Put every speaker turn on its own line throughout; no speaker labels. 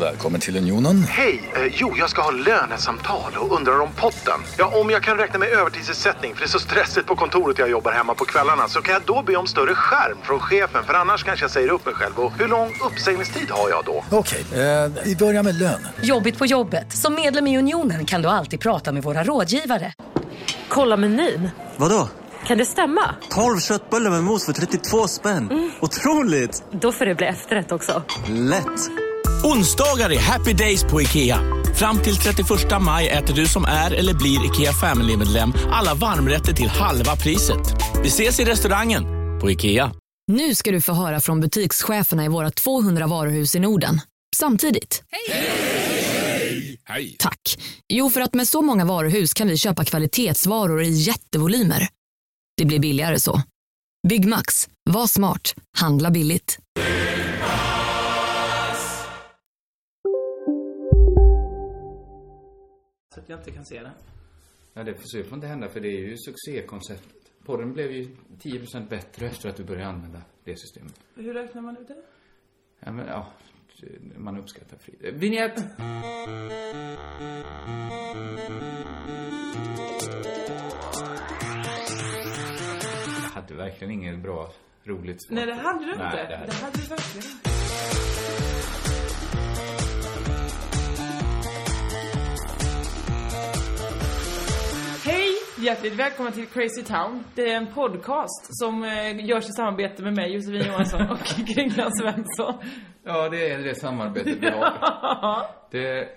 Välkommen till Unionen.
Hej! Eh, jo, jag ska ha lönesamtal och undrar om potten. Ja, om jag kan räkna med övertidsersättning för det är så stressigt på kontoret jag jobbar hemma på kvällarna så kan jag då be om större skärm från chefen för annars kanske jag säger upp mig själv. Och hur lång uppsägningstid har jag då?
Okej, eh, vi börjar med lön.
Jobbigt på jobbet. Som medlem i Unionen kan du alltid prata med våra rådgivare.
Kolla menyn.
Vadå?
Kan det stämma?
12 köttbullar med mos för 32 spänn. Otroligt!
Då får det bli efterrätt också.
Lätt!
Onsdagar är happy days på IKEA. Fram till 31 maj äter du som är eller blir IKEA Family-medlem alla varmrätter till halva priset. Vi ses i restaurangen på IKEA.
Nu ska du få höra från butikscheferna i våra 200 varuhus i Norden. Samtidigt. Hej! Tack. Jo, för att med så många varuhus kan vi köpa kvalitetsvaror i jättevolymer. Det blir billigare så. Byggmax. Var smart. Handla billigt.
Så att jag inte kan se det.
Ja, det får, så det får inte hända för det är ju succékonceptet. Podden blev ju 10% bättre efter att du började använda det systemet.
Hur räknar man ut det?
Ja, men, ja, det- man uppskattar fri... Eh, Vinjett! Jag hade verkligen inget bra, roligt svar.
Nej, det hade du inte.
Nej, det hade
det
jag
hade du verkligen inte. Hej! Hjärtligt välkomna till Crazy Town. Det är en podcast som eh, görs i samarbete med mig, Josefin Johansson och Kringlan Svensson.
Ja, det är det samarbetet vi har. Det,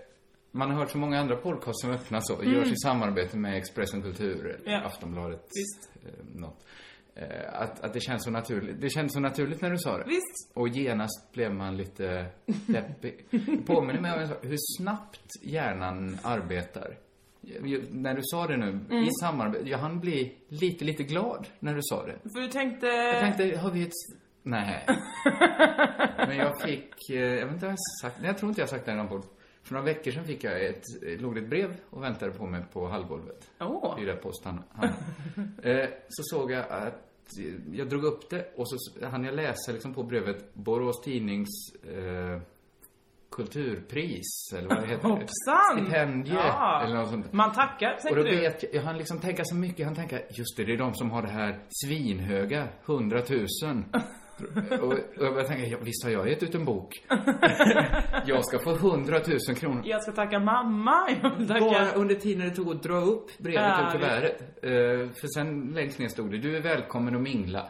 man har hört så många andra podcasts som öppnas och görs i samarbete med Expressen Kultur,
Mm. Ja.
Aftonbladet,
Visst.
eh, något. Eh, Att, att det känns så naturligt. Det kändes så naturligt när du sa det.
Visst.
Och genast blev man lite deppig. Det påminner mig om en sak. hur snabbt hjärnan arbetar. Jag- jag- När du sa det nu,
Mm.
i samarbete. Jag hann bli lite, lite glad när du sa det.
För du tänkte...
Jag tänkte, har vi ett... Nej. Men jag fick, eh, jag vet inte vad jag har sagt, nej jag tror inte jag har sagt det här i någon podd. För några veckor sedan fick jag ett, eh, låg det ett brev och väntade på mig på hallgolvet.
Åh.
Det är ju där posten eh, Så såg jag att, eh, jag drog upp det och så s- hann jag läsa liksom på brevet Borås Tidnings eh, kulturpris eller vad det heter.
Hoppsan!
Stipendie
Ja.
eller något sånt där.
Man tackar,
Och då
tänkte du.
vet jag, jag hann liksom tänka så mycket, han tänka, just det, det är de som har det här svinhöga, hundratusen. och, och jag började tänka, ja, visst har jag gett ut en bok? jag ska få hundratusen kronor.
Jag ska tacka mamma, jag vill tacka...
Bara under tiden det tog att dra upp brevet
Ja,
ur kuvertet. Eh, för sen längst ner stod det, du är välkommen att mingla.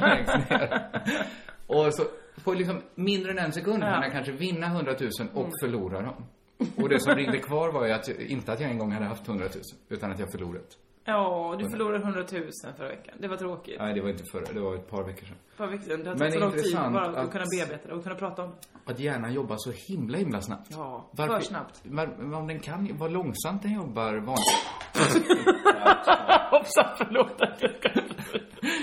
längst ner. Och så, på liksom mindre än en sekund hann jag kanske vinna 100 000 och
Mm.
förlora dem. Och det som ringde kvar var ju att, jag- inte att jag en gång hade haft 100 000, utan att jag förlorat.
Ja, du förlorade 100 000 förra veckan. Det var tråkigt.
Nej, det var inte förra, det var ett par veckor sedan.
Förra veckan, det har
Men
tagit så lång tid
intressant
bara att
att-
kunna bearbeta det och kunna prata om det.
Att hjärnan jobbar så himla, himla snabbt.
Ja, för snabbt.
Men om den kan, vad långsamt den jobbar vanligt.
Hoppsan, förlåt att jag ska...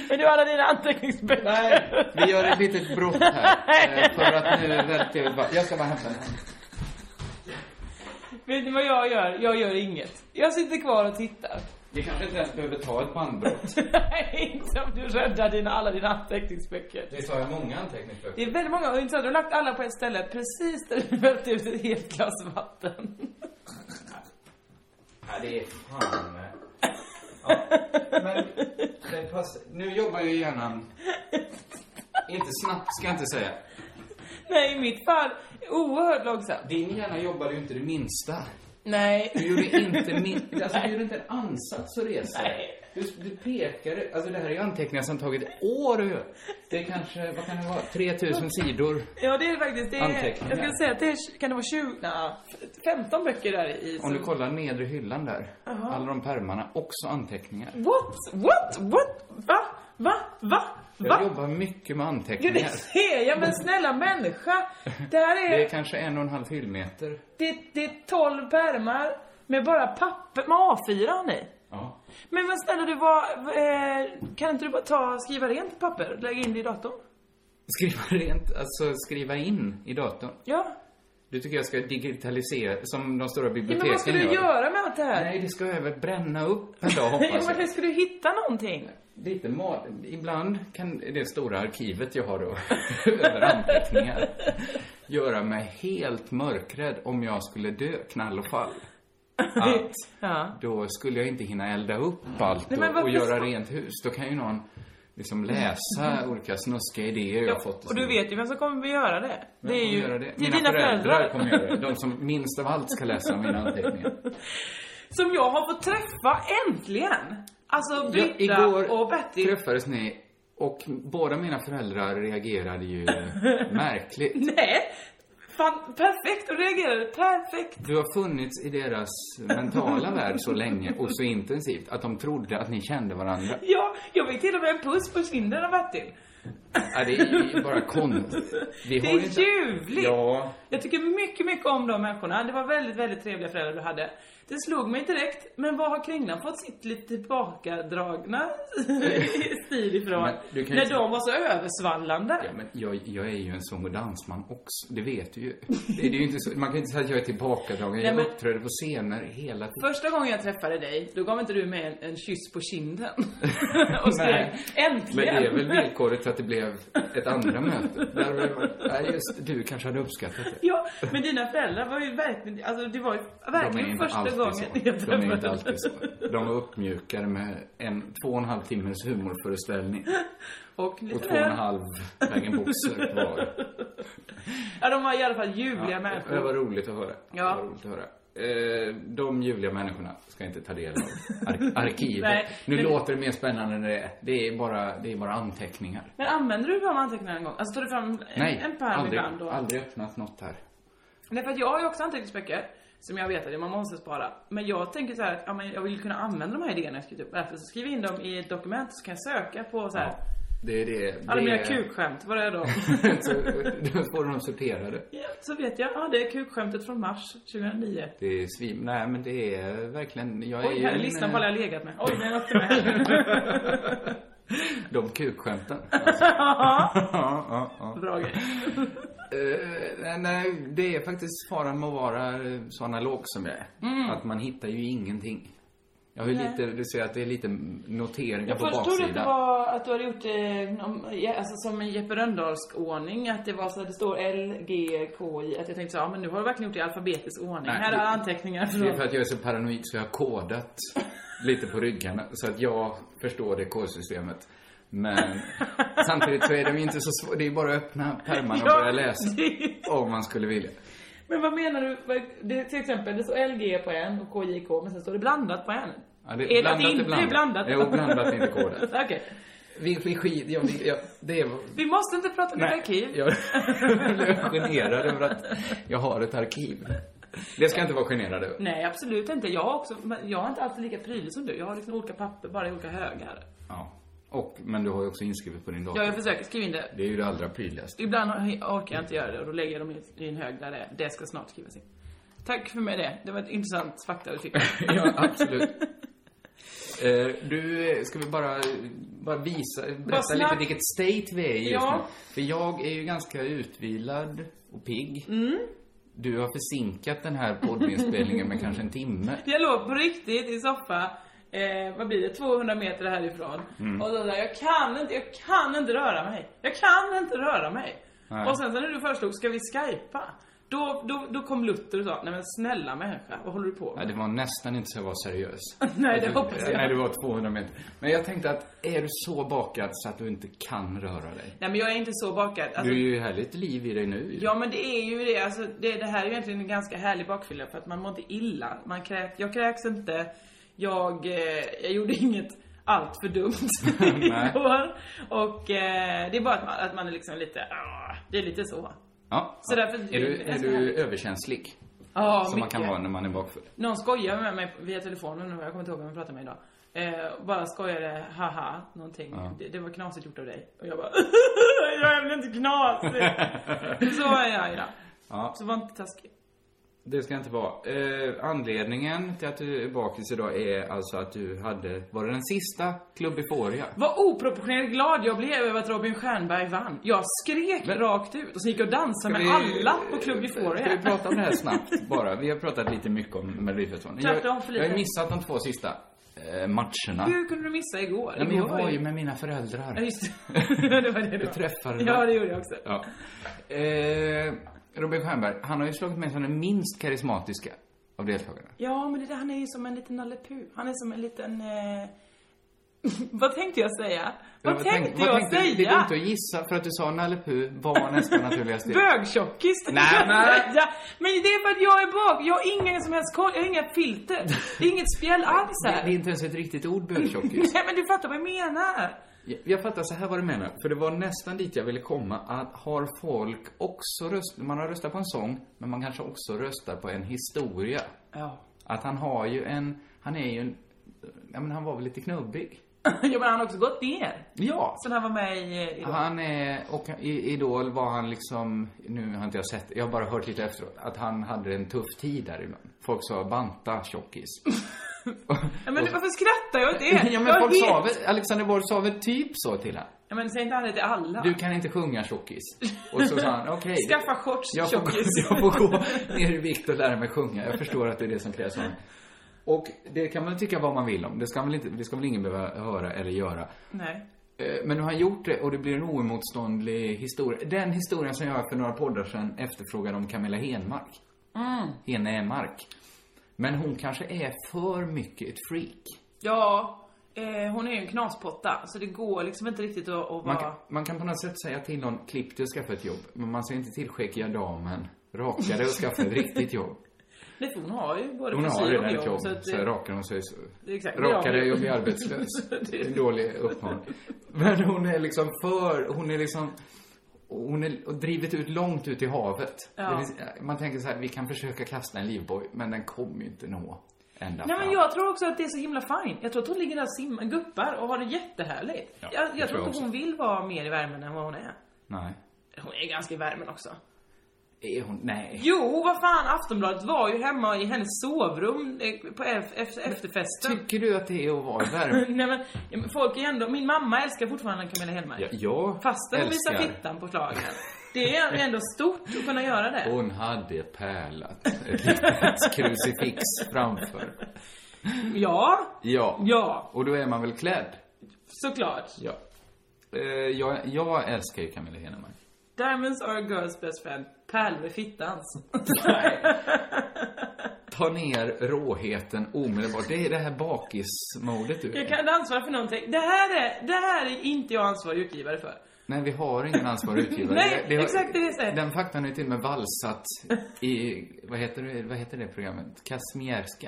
Men du hade dina anteckningsböcker.
Nej, vi gör ett litet brott här. eh, För att nu välter jag bara. Jag ska bara hämta den.
Vet ni vad jag gör? Jag gör inget. Jag sitter kvar och tittar.
Vi kanske inte ens behöver ta ett bandbrott.
Nej, inte om du räddar dina, alla dina anteckningsböcker.
Det tar jag många anteckningsböcker.
Det är väldigt många, och inte så att du har lagt alla på ett ställe precis där du välte ut ett helt glas vatten.
Ja, det är fan. eh. Ja, men det passar. Nu jobbar ju hjärnan. Inte snabbt ska jag inte säga.
Nej, i mitt fall, oerhört långsamt.
Din hjärna jobbade ju inte det minsta.
Nej.
Du gjorde inte min... Alltså du gjorde inte en ansats att resa.
Nej.
Du, du pekade... Alltså det här är ju anteckningar som tagit år att göra. Det är kanske, vad kan det vara? 3000 sidor.
Ja det är det faktiskt. Det är, jag
Anteckningar.
skulle säga att det är, kan det vara 20, nej, 15 böcker där i.
Om
som-
du kollar nedre hyllan där. Alla de pärmarna, också anteckningar.
What? What? What? Va? Va? Va?
Jag
Va?
jobbar mycket med
Ja, det
anteckningar.
ser jag, men snälla människa. Det här
Det är
är,
kanske en och en halv hyllmeter.
det, det är 12 pärmar med bara papper, med A4 i.
Ja.
Men vad snälla du, var, eh, kan inte du bara ta, skriva rent papper och lägga in det i datorn?
Skriva rent, alltså skriva in i datorn.
Ja.
Det tycker jag ska digitalisera, som de stora
Ja,
biblioteken
men vad ska du göra med allt det här?
Nej, det ska jag väl bränna upp en dag,
Jo,
hoppas
men hur
jag.
ska du hitta någonting?
Lite mal... Ibland kan det stora arkivet jag har då, över anteckningar, göra mig helt mörkrädd om jag skulle dö knall och fall. Att
Ja.
då skulle jag inte hinna elda upp allt
Nej,
och,
men varför
och göra
ska-
rent hus. Då kan ju någon liksom läsa olika snuskiga idéer jag har fått.
Mm. Och du vet ju vem som kommer att göra det. Det är ju
Göra det.
det är
Mina
dina föräldrar.
kommer göra det. De som minst av allt ska läsa mina anteckningar.
Som jag har fått träffa äntligen! Alltså
Ja,
Britta
igår
och Betty.
träffades ni och båda mina föräldrar reagerade ju märkligt.
Nej! Fan, perfekt! Och reagerade perfekt.
Du har funnits i deras mentala värld så länge och så intensivt att de trodde att ni kände varandra.
Ja, jag fick till och med en puss på kinden av Bertil.
Ja, det är ju bara konstigt. Vi
Det
har ju
är
inte-
ljuvligt!
Ja.
Jag tycker mycket, mycket om de människorna. Det var väldigt, väldigt trevliga föräldrar du hade. Det slog mig direkt, men vad har Kringlan fått sitt lite tillbakadragna stil ifrån?
Men du kan ju
När
säga-
de var så översvallande.
Ja, men jag, jag är ju en sång och dansman också. Det vet du ju. Det är ju inte så, man kan inte säga att jag är tillbakadragen. Jag
men-
uppträder på scener hela tiden.
Första gången jag träffade dig, då gav inte du mig en, en kyss på kinden. och skrek
Nej.
äntligen!
Men det är väl villkoret att det blev ett andra möte. Där har det varit- Nej, just du kanske hade uppskattat det.
Ja, men dina föräldrar var ju verkligen, alltså det var ju
De är
verkligen
inte
första
alltid
gången
så. De är inte alltid så. De var uppmjukade med en två och en halv timmes humorföreställning.
Och
Och
lite
två och en
öl.
halv Vägen Boxer var.
Ja, de var i alla fall ljuvliga
Eh, Det
människor.
var roligt att höra.
Ja.
Det var roligt att höra. Eh, De ljuvliga människorna ska inte ta del av ar-
Nej,
arkivet. Nu
men-
låter det mer spännande än det är. Det är bara, det är bara anteckningar.
Men använder du de anteckningarna en gång? Alltså tar du fram en,
Nej,
en pärm
aldrig,
ibland då?
aldrig öppnat något här.
Nej, för att jag har ju också anteckningsböcker. Som jag vet att man måste spara. Men jag tänker så här att ja, men jag vill kunna använda de här idéerna jag skrivit upp. Därför så skriver jag in dem i ett dokument så kan jag söka på så här.
Ja, det är det.
Alla
det
mina
är-
kukskämt, vad är de?
så, då får de sorterade.
ja, så vet jag, ja det är kukskämtet från mars 2009.
Det är svim... Nej, men det är verkligen... Jag är
Oj,
ju
här är
en,
listan på
eh,
alla jag legat med. Oj, den åkte med.
De kukskämten. Alltså.
Ja,
ja, ja, ja.
bra grej.
Eh, nej, nej, det är faktiskt faran med att vara eh, så analog som jag är.
Mm.
Att man hittar ju ingenting. Jag har ju lite, du ser att det är lite noteringar på
Först
baksidan.
trodde jag att det var att du hade gjort eh, om- ja, alltså, som en Jeppe Rönndahlsk ordning. Att det var så här, det står L, G, K, J. Att jag tänkte så, ja men nu har du verkligen gjort det i alfabetisk ordning.
Nej,
här
det-
är anteckningar
Det är för
från...
att jag är så paranoid så jag har kodat lite på ryggarna. Så att jag förstår det kodsystemet. Men samtidigt så är de ju inte så svåra. Det är bara att öppna pärmarna och
Ja,
börja läsa.
det-
Om man skulle vilja.
Men vad menar du? Vad- Det, till exempel, det står LG på en och KJK, men sen står det blandat på en.
Ja, det-
är det att
blandat
det
är
inte är blandat?
blandat. Jo, blandat är inte kodat.
Okej.
Vi, vi skit, ja, vi, ja, det är...
Vi måste inte prata om ditt arkiv.
jag blev generad över att jag har ett arkiv. Det ska jag inte vara generad över.
Nej, absolut inte. Jag har också, men jag är inte alltid lika prydlig som du. Jag har liksom olika papper, bara i olika högar.
Ja. Och, men du har ju också inskrivet på din dator.
Ja, jag försöker skriva in det.
Det är ju det allra prydligaste.
Ibland orkar jag inte göra det och då lägger jag dem i- i en hög där det är. Det ska snart skrivas in. Tack för mig det. Det var ett intressant fakta du fick.
ja, absolut. Eh, du, eh, ska vi bara, bara visa, berätta lite
snack.
vilket state vi är i just
Ja.
nu? För jag är ju ganska utvilad och pigg.
Mm.
Du har försinkat den här poddinspelningen med kanske en timme.
Jag låg på riktigt i soffa, eh, vad blir det, 200 meter härifrån.
Mm.
Och då där, jag kan inte, jag kan inte röra mig. Jag kan inte röra mig.
Nej.
Och sen så när du föreslog, ska vi skypa? Då, då, då kom Luther och sa, nej men snälla människa, vad håller du på
Ja,
med?
det var nästan inte så jag var seriös.
Nej, det
Att du-
hoppas jag.
Nej, det var 200 meter. Men jag tänkte att, är du så bakad så att du inte kan röra dig?
Nej men jag är inte så bakad. Alltså,
Du är ju härligt liv i dig nu.
Ja men det är ju det, alltså det, det här är ju egentligen en ganska härlig bakfylla för att man mår inte illa. Man kräk, jag kräks inte, jag, eh, jag gjorde inget allt för dumt
Nej.
igår. Och eh, det är bara att man, att man är liksom lite, ah, det är lite så.
Ja.
Så därför-
är du, är
alltså-
du överkänslig?
Ja,
Som man kan vara när man är bakfull.
Någon skojar med mig via telefonen nu, jag kommer inte ihåg vem jag pratade med idag. Eh, bara skojade, haha, någonting. Det, det var knasigt gjort av dig. Och jag bara, jag är väl inte knasig. så var jag idag.
Ja.
Så var inte taskig.
Det ska inte vara. Eh, anledningen till att du är bakis idag är alltså att du hade, var det den sista Club Euphoria?
Vad oproportionerligt glad jag blev över att Robin Stjernberg vann. Jag skrek rakt ut och så gick jag och dansade med alla på Club Euphoria.
Ska vi prata om det här snabbt bara? Vi har pratat lite mycket om Melodifestivalen. Jag,
Tvärtom för
jag
lite.
har missat de två sista eh, matcherna.
Hur kunde du missa igår?
Ja, men jag
Igår
var ju med mina föräldrar.
Ja, just det. det var det du
Jag träffade dem.
Ja, det gjorde jag också.
Ja. Eh, Robin Stjernberg, han har ju slagit mig som den minst karismatiska av deltagarna.
Ja, men det, där, han är ju som en liten Nalle Puh. Han är som en liten... Eh... vad tänkte jag säga? Vad,
Jag
tänkte, jag
vad tänkte- Det går
säga?
inte att gissa för att du sa Nalle Puh var nästan naturligast del.
Bögtjockis, tänkte
Nej,
jag
men-
säga. Men det är för att jag är bög. Jag har ingen som helst koll. Jag har inga filter. Det är inget spjäll alls
Det, det är
här.
inte ens ett riktigt ord, bögtjockis.
Nej, men du fattar vad jag menar.
Jag- Jag fattar så här vad du menar, för det var nästan dit jag ville komma att har folk också röst, man har röstat på en sång, men man kanske också röstar på en historia.
Ja.
Att han har ju en, han är ju en, ja men han var väl lite knubbig.
ja, men han har också gått ner.
Ja.
Så när han var med i... i
Han är, och i Idol var han liksom, nu har inte jag sett, jag har bara hört lite efteråt, att han hade en tuff tid där ibland. Folk sa banta tjockis.
ja, men varför skrattar jag åt det?
ja
Jag
men folk sa
vet.
väl, Alexander Borg sa väl typ så till han.
Ja, men säg inte han det till alla.
Du kan inte sjunga tjockis. Och så sa han, okej.
Skaffa shorts,
jag får, gå,
tjockis.
jag får gå ner i vikt och lära mig sjunga. Jag förstår att det är det som krävs av mig. Och det kan man tycka vad man vill om. Det ska, väl inte, det ska väl ingen behöva höra eller göra.
Nej.
Eh, Men nu har han gjort det och det blir en oemotståndlig historia. Den historien som jag för några poddar sedan efterfrågade om Camilla Henmark. Mm. Henemark. Men hon kanske är för mycket ett freak.
Ja, eh, hon är ju en knaspotta. Så det går liksom inte riktigt att, att
Man
vara...
kan, man kan på något sätt säga till någon, klipp dig och skaffa ett jobb. Men man säger inte till skäggiga damen, raka dig och skaffa ett riktigt jobb.
Nej, för hon har ju både
Hon har
frisyr
redan
och
ett jobb,
så att,
så
eh,
rakar hon sig så.
det är exakt-
Raka
det har
dig och
vi.
bli arbetslös. Det är en
Det-
dålig uppmaning. Men hon är liksom för, hon är liksom, hon är och drivet ut långt ut i havet.
Ja.
Det vill- Man tänker så här, vi kan försöka kasta en livboj, men den kommer ju inte nå ända
Nej men
fram.
jag tror också att det är så himla fint. Jag tror att hon ligger där och simmar, guppar och har det jättehärligt.
Ja,
jag, jag,
det tror
tror
jag
inte hon vill vara mer i värmen än vad hon är.
Nej.
Hon är ganska i värmen också.
Är hon, nej.
Jo, vad fan, Aftonbladet var ju hemma i hennes sovrum eh, på ef- ef- efterfesten.
Tycker du att det är att vara i värme?
Nej men, ja, men folk är ju ändå, min mamma älskar fortfarande Camilla Hellmark.
Ja, jag
Fastän hon visar
älskar-
fittan på slagen. Det är ändå stort att kunna göra det.
Hon hade pärlat ett litet krucifix framför.
Ja,
Ja.
Ja.
Och då är man väl klädd?
såklart.
Ja. Eh, jag, jag älskar ju Camilla Henemark.
Diamonds are a girl's best friend. Pärlor i fittans.
Ta ner råheten omedelbart. Det är det här bakismodet du
Jag
är.
kan inte ansvara för någonting. Det här är, det här är inte jag ansvarig utgivare för.
Nej, vi har ingen ansvarig utgivare.
Nej,
har-
exakt det jag säger.
Den faktan är till och med valsat i, vad heter det, vad heter det programmet? Kasmierska.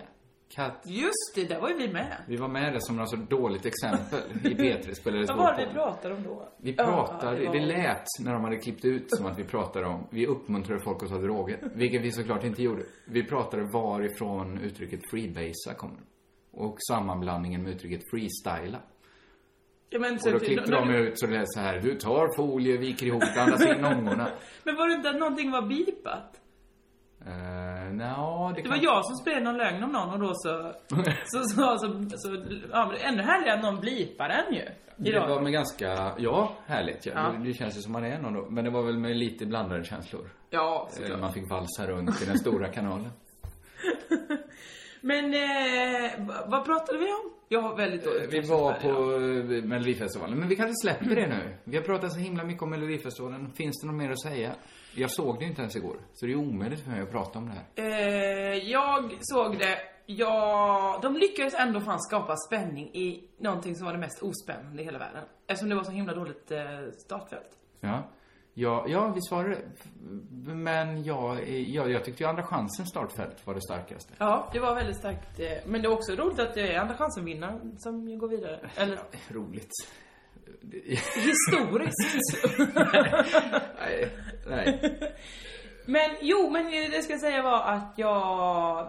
Kat...
Just det, där var ju vi med.
Vi var med det som något så dåligt exempel i P3 spelades
Vad
vår
var det vi
podd.
pratade om då?
Vi
Ja,
pratade,
var-
det lät när de hade klippt ut som att vi pratade om, vi uppmuntrade folk att ta droger. Vilket vi såklart inte gjorde. Vi pratade varifrån uttrycket freebasea kommer. Och sammanblandningen med uttrycket freestyla.
Ja, men,
Och
typ,
då klippte
nå-
de ut så det lät så här, du tar folie, viker ihop, det, andas in ångorna.
men var det inte att någonting var bipat?
Uh, Nja, det
Det
kan...
var jag som spred någon lögn om någon och då så... Så, så, så, så, ja, men det är ännu härligare att någon blipar den ju.
Det var
Idag.
med ganska, ja, härligt. Ja.
Ja.
Det, det känns ju som man är någon då. Men det var väl med lite blandade känslor.
Ja,
Eh,
såklart.
Man fick valsa runt i den stora kanalen.
Men eh, vad- vad pratade vi om? Jag har väldigt dåligt
Eh, Vi var på eh, Melodifestivalen, men vi kanske släpper det nu. Vi har pratat så himla mycket om Melodifestivalen. Finns det något mer att säga? Jag såg det inte ens igår, så det är omöjligt för mig att prata om det här.
Eh, jag såg det. Ja, de lyckades ändå fan skapa spänning i någonting som var det mest ospännande i hela världen. Eftersom det var så himla dåligt eh, startfält.
Ja, ja, ja vi svarade. Men jag, eh, ja, jag tyckte ju Andra chansen startfält var det starkaste.
Ja, det var väldigt starkt. Eh, men det är också roligt att det är Andra chansen-vinnaren som ju går vidare. Eller
Roligt.
historiskt.
Nej, nej.
men jo, men det ska jag säga var att jag...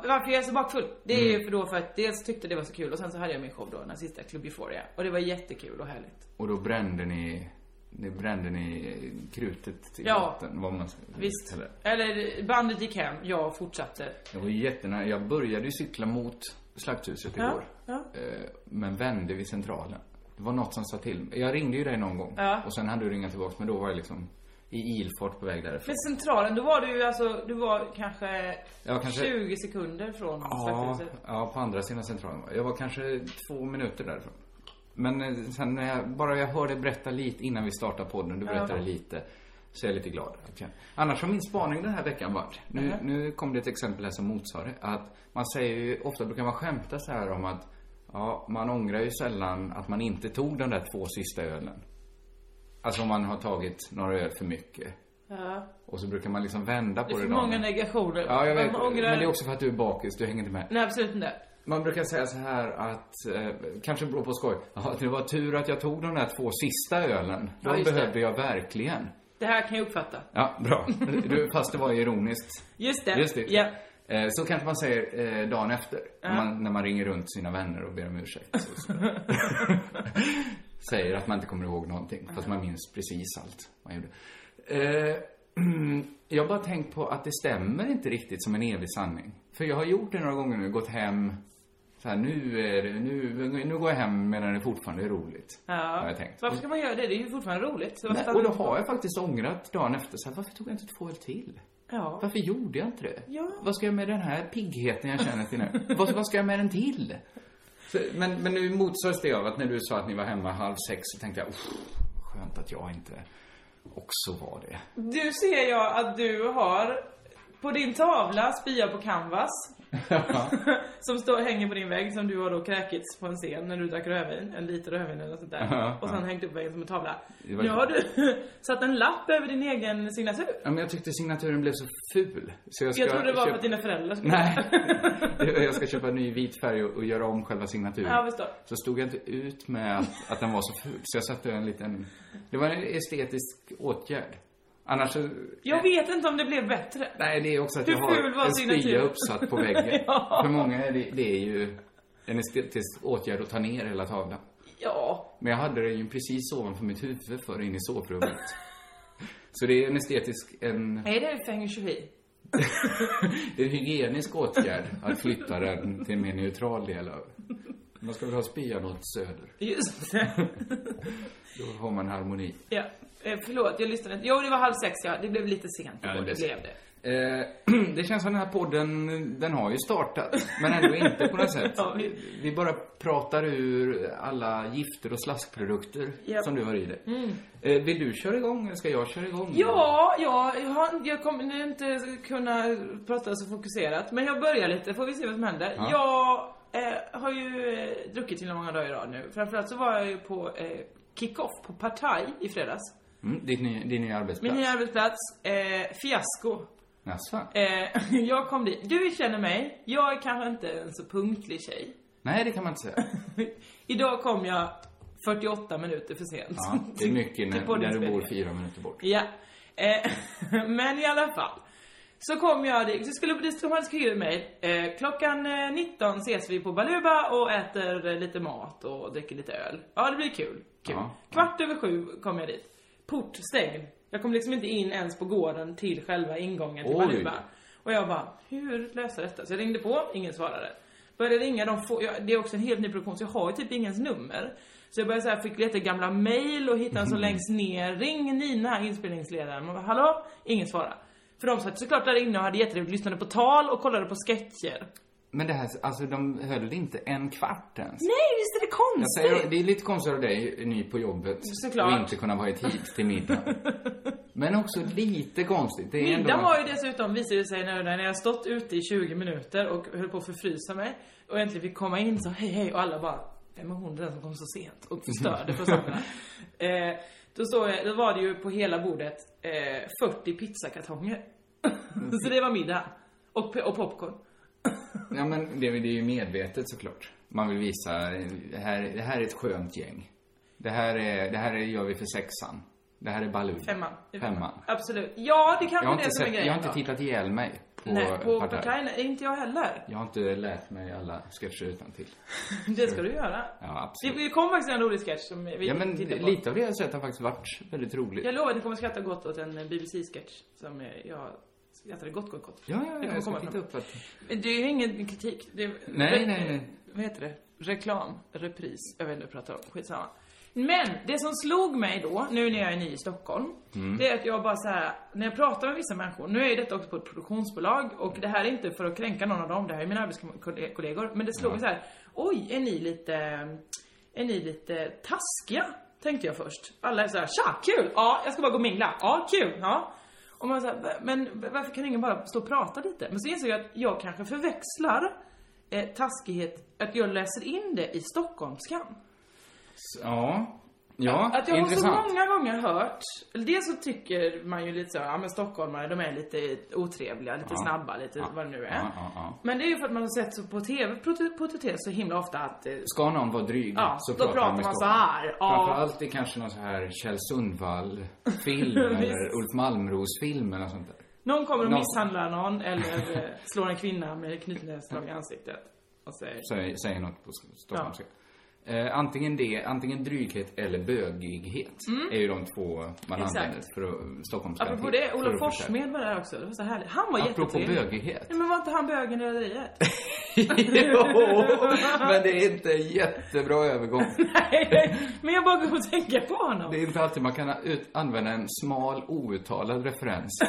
Varför jag är så bakfull? Det är
Mm.
ju för då för att dels tyckte det var så
Mm,
kul och sen så hade jag min show då, den sista Club Euphoria. Och det var jättekul och härligt.
Och då brände ni Det brände ni krutet till
Ja.
vatten. Vad man ska,
Visst.
Eller,
Eller bandet gick hem, jag fortsatte.
jag var ju jättenära. Jag började ju cykla mot Slakthuset
Ja,
igår.
ja.
Eh, Men vände vid Centralen. Det var något som sa till mig. Jag ringde ju dig någon gång.
Ja.
Och sen hade du ringat tillbaka. Men då var jag liksom i ilfart på väg därifrån.
Men centralen, då var du ju alltså, du var kanske,
Jag var kanske-
20 sekunder från
Ja,
Slakthuset.
ja, på andra sidan centralen. var jag. Jag var kanske två minuter därifrån. Men eh, sen när jag, bara jag hörde berätta lite innan vi startade podden, du berättade lite. Så jag är lite glad. Okej. Annars har min spaning den här veckan varit, nu,
Mhm.
nu kom det ett exempel här som motsade det, att man säger ju, ofta brukar man skämta så här om att ja, man ångrar ju sällan att man inte tog de där två sista ölen. Alltså om man har tagit några öl för mycket.
Ja.
Och så brukar man liksom vända på
Det
det.
är för
dagen-
många negationer.
Ja, jag vet.
Man ångrar...
Men det är också för att du är bakis, du hänger inte med.
Nej, absolut inte.
Man brukar säga så här att, eh, kanske beror på skoj, ja, det var tur att jag tog de där två sista ölen.
Ja,
De
just det.
behövde jag verkligen.
Det här kan jag uppfatta.
Ja, bra. Du, fast det var ironiskt.
Just det.
Just det.
Ja.
Eh, Så kanske man säger eh, dagen efter, när, man, när man ringer runt sina vänner och ber om ursäkt. Så, så. säger att man inte kommer ihåg någonting, fast man minns precis allt man gjorde. Eh, jag har bara tänkt på att det stämmer inte riktigt som en evig sanning. För jag har gjort det några gånger nu, gått hem, så här, nu, är det, nu, nu går jag hem medan det fortfarande är roligt. Har jag tänkt.
Varför ska man göra det? Det är ju fortfarande roligt. Så varför
Nej,
stannar
och då
man kvar?
har jag faktiskt ångrat dagen efter, så här, varför tog jag inte två öl till?
Ja.
Varför gjorde jag inte det?
Ja.
Vad ska jag med den här piggheten jag känner till nu? vad, vad ska jag med den till? Så, men, men nu motsades det av att när du sa att ni var hemma halv sex så tänkte jag, "Uff, skönt att jag inte också var det.
Du ser jag att du har på din tavla spia på canvas. som står, hänger på din vägg som du har då kräkits på en scen när du drack rödvin. En liter rödvin eller något sånt där.
Ja,
och sen
ja.
hängt upp väggen som en tavla.
var-
Nu har du satt en lapp över din egen signatur.
Ja, men jag tyckte signaturen blev så ful. Så jag, ska
Jag trodde det var för
köpa-
att dina föräldrar skulle...
Nej, jag ska köpa ny vit färg och, och göra om själva signaturen.
Ja, förstår.
så stod jag inte ut med att, att den var så ful, så jag satte en liten... Det var en estetisk åtgärd. Annars så...
Jag vet inte om det blev bättre.
Nej, det är också att
Hur
jag
ful var
har en
signatur?
spya uppsatt på väggen.
Ja.
För många är det, det är ju en estetisk åtgärd att ta ner hela tavlan.
Ja.
Men jag hade den ju precis ovanför mitt huvud för in i sovrummet. Så det är en estetisk, en,
Är det feng shui?
det är en hygienisk åtgärd att flytta den till en mer neutral del av... Man ska väl ha spyan åt söder.
Just det.
Då har man harmoni.
ja. Eh, Förlåt, jag lyssnade inte. Jo, det var halv sex ja. Det blev lite sent.
Ja, det blev
blev
sent.
det.
Eh, det känns som den här podden, den har ju startat. Men ändå inte på något sätt.
Ja, vi-
Vi bara pratar ur alla gifter och slaskprodukter
Japp. Mm.
som du har i dig. Eh, vill du köra igång eller ska jag köra igång?
Ja, ja jag, har, jag kommer nu inte kunna prata så fokuserat. Men jag börjar lite, får vi se vad som händer. Jag eh, har ju eh, druckit till många dagar i rad nu. Framförallt så var jag ju på eh, kick-off på Partaj i fredags.
Mm, ditt nya, din nya
Min
arbetsplats?
nya arbetsplats, eh, fiasko.
Jaså?
Eh, jag kom dit. Du känner mig. Jag är kanske inte en så punktlig tjej.
Nej, det kan man inte säga.
Idag kom jag 48 minuter för sent.
Ja, det är mycket
Till
när, när du
poddinspelningen.
bor fyra minuter bort.
Ja. Eh, men i alla fall. Så kom jag dit, så skulle de hade skrivit mig. Eh, klockan eh, 19 ses vi på Baluba och äter eh, lite mat och dricker lite öl. Ja, det blir kul. kul.
Ja.
Kvart över sju kom jag dit. Port stängd. Jag kom liksom inte in ens på gården till själva ingången till
Oj.
Baluba. Och jag bara, hur löser detta? Så jag ringde på, ingen svarade. Började ringa, de få, jag, det är också en helt ny produktion så jag har ju typ ingens nummer. Så jag började så här, fick leta i gamla mail och hitta en så längst ner. Ring Nina, inspelningsledaren. Och bara, hallå? Ingen svarade. För de satt såklart där inne och hade jätteroligt, lyssnade på tal och kollade på sketcher.
Men det här, alltså de höll inte en kvart ens.
Nej, visst är det
Jag
konstigt?
säger, det är lite konstigt av dig, ny på jobbet,
Såklart.
och inte kunna vara i tid till middag. Men också lite konstigt. Det är
Middagen
ändå...
var ju dessutom, visade det sig när när jag stått ute i 20 minuter och höll på att förfrysa mig och äntligen fick komma in så hej hej och alla bara Vem är hon den som kom så sent och förstörde för sommarna? eh, då, såg jag, då var det ju på hela bordet eh, 40 pizzakartonger.
Mm.
så det var middag. Och, pe- och popcorn.
Ja, men det, det är ju medvetet såklart. Man vill visa, det här, det här är ett skönt gäng. Det här, är, det här är, gör vi för sexan. Det här är Baloo.
Femman.
Femman.
Absolut. Ja, det kanske
Jag
är
har,
det
inte
som är
sett,
grejen
jag har
då.
inte tittat ihjäl mig. på
Nej, på
Partaj.
Partaj, nej, inte jag heller.
Jag har inte lärt mig alla sketcher utan till.
Det ska du göra.
Ja, absolut.
Det kom faktiskt en rolig sketch som vi
Ja, men
tittade på.
lite av det jag har sett har faktiskt varit väldigt roligt.
Jag lovar att ni kommer skratta gott åt en BBC-sketch som eh, jag skrattade gott, gott, gott.
Ja, ja,
Det
ja,
kommer
jag ska
komma
titta
fram.
upp att...
Men Det är ju ingen kritik. Det är,
Nej, nej, nej.
Vad heter det? Reklam, repris. Jag vet inte vad jag pratar om. Skitsamma. Men det som slog mig då, nu när jag är ny i Stockholm, det är att jag bara så här, när jag pratar med vissa människor, nu är ju detta också på ett produktionsbolag och det här är inte för att kränka någon av dem, det här är mina arbetskollegor, men det slog mig så här, oj, är ni lite, är ni lite taskiga? Tänkte jag först. Alla är så här, tja, kul! Ja, jag ska bara gå och mingla. Ja, kul! Ja. Och man såhär, men varför kan ingen bara stå och prata lite? Men så insåg jag att jag kanske förväxlar eh, taskighet, att jag läser in det i stockholmskan.
Ja. Ja,
Att jag har
intressant.
så många gånger hört, eller dels så tycker man ju lite så, ja men stockholmare de är lite otrevliga, lite snabba, lite
Ja.
vad det nu är.
Ja, ja, ja.
Men det är ju för att man har sett så på TV porträtteras så himla ofta att eh,
Ska någon vara dryg
Ja,
så
då
pratar
pratar
med
man
Stockholm.
så här, ja.
Framförallt i kanske någon så här Kjell Sundvall-film
Visst.
eller Ulf Malmros-film eller något sånt där.
någon kommer och
Någon-
misshandlar någon eller eh, slår en kvinna med knytnävsslag i ansiktet. Och säger,
Säger, säger något på stockholmska. Eh, antingen det, antingen dryghet eller bögighet är ju de två man
Mm. Exakt.
använder för att stockholmska.
apropå
till-
det,
för
Olof
att förstärka.
Forssmed var där också, det var så härligt. Han var
Apropå
jättetrevlig.
bögighet.
Nej men var inte han bögen i Rederiet?
jo, men det är inte en jättebra övergång.
Nej, men jag bara kom att tänka på honom.
Det är inte alltid man kan ut, använda en smal outtalad referens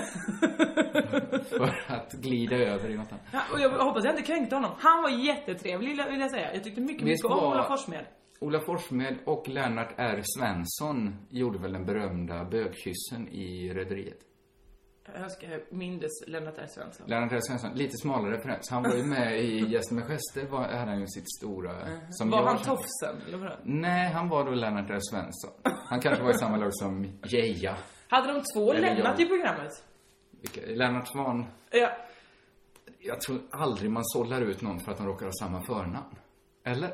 för att glida över i något annat.
Ja, Och jag hoppas jag inte kränkte honom. Han var jättetrevlig vill jag- vill jag säga. Jag tyckte mycket,
Visst
mycket om
var-
Ola Forssmed.
Ola Forssmed och Lennart R. Svensson gjorde väl den berömda bögkyssen i Rederiet?
Jag önskar jag mindes Lennart R. Svensson.
Lennart R. Svensson, lite smalare referens. Han var ju med i Gästen med gester, var, hade han ju sitt stora... Som
Mhm. Var
jag
han
känner.
tofsen eller vadå?
Nej, han var då Lennart R. Svensson. Han kanske var i samma lag som Geija.
Hade de två
Eller
lämnat
jag.
i programmet?
Vilka- Lennart Svan.
Ja.
Jag tror aldrig man sållar ut någon för att de råkar ha samma förnamn. Eller?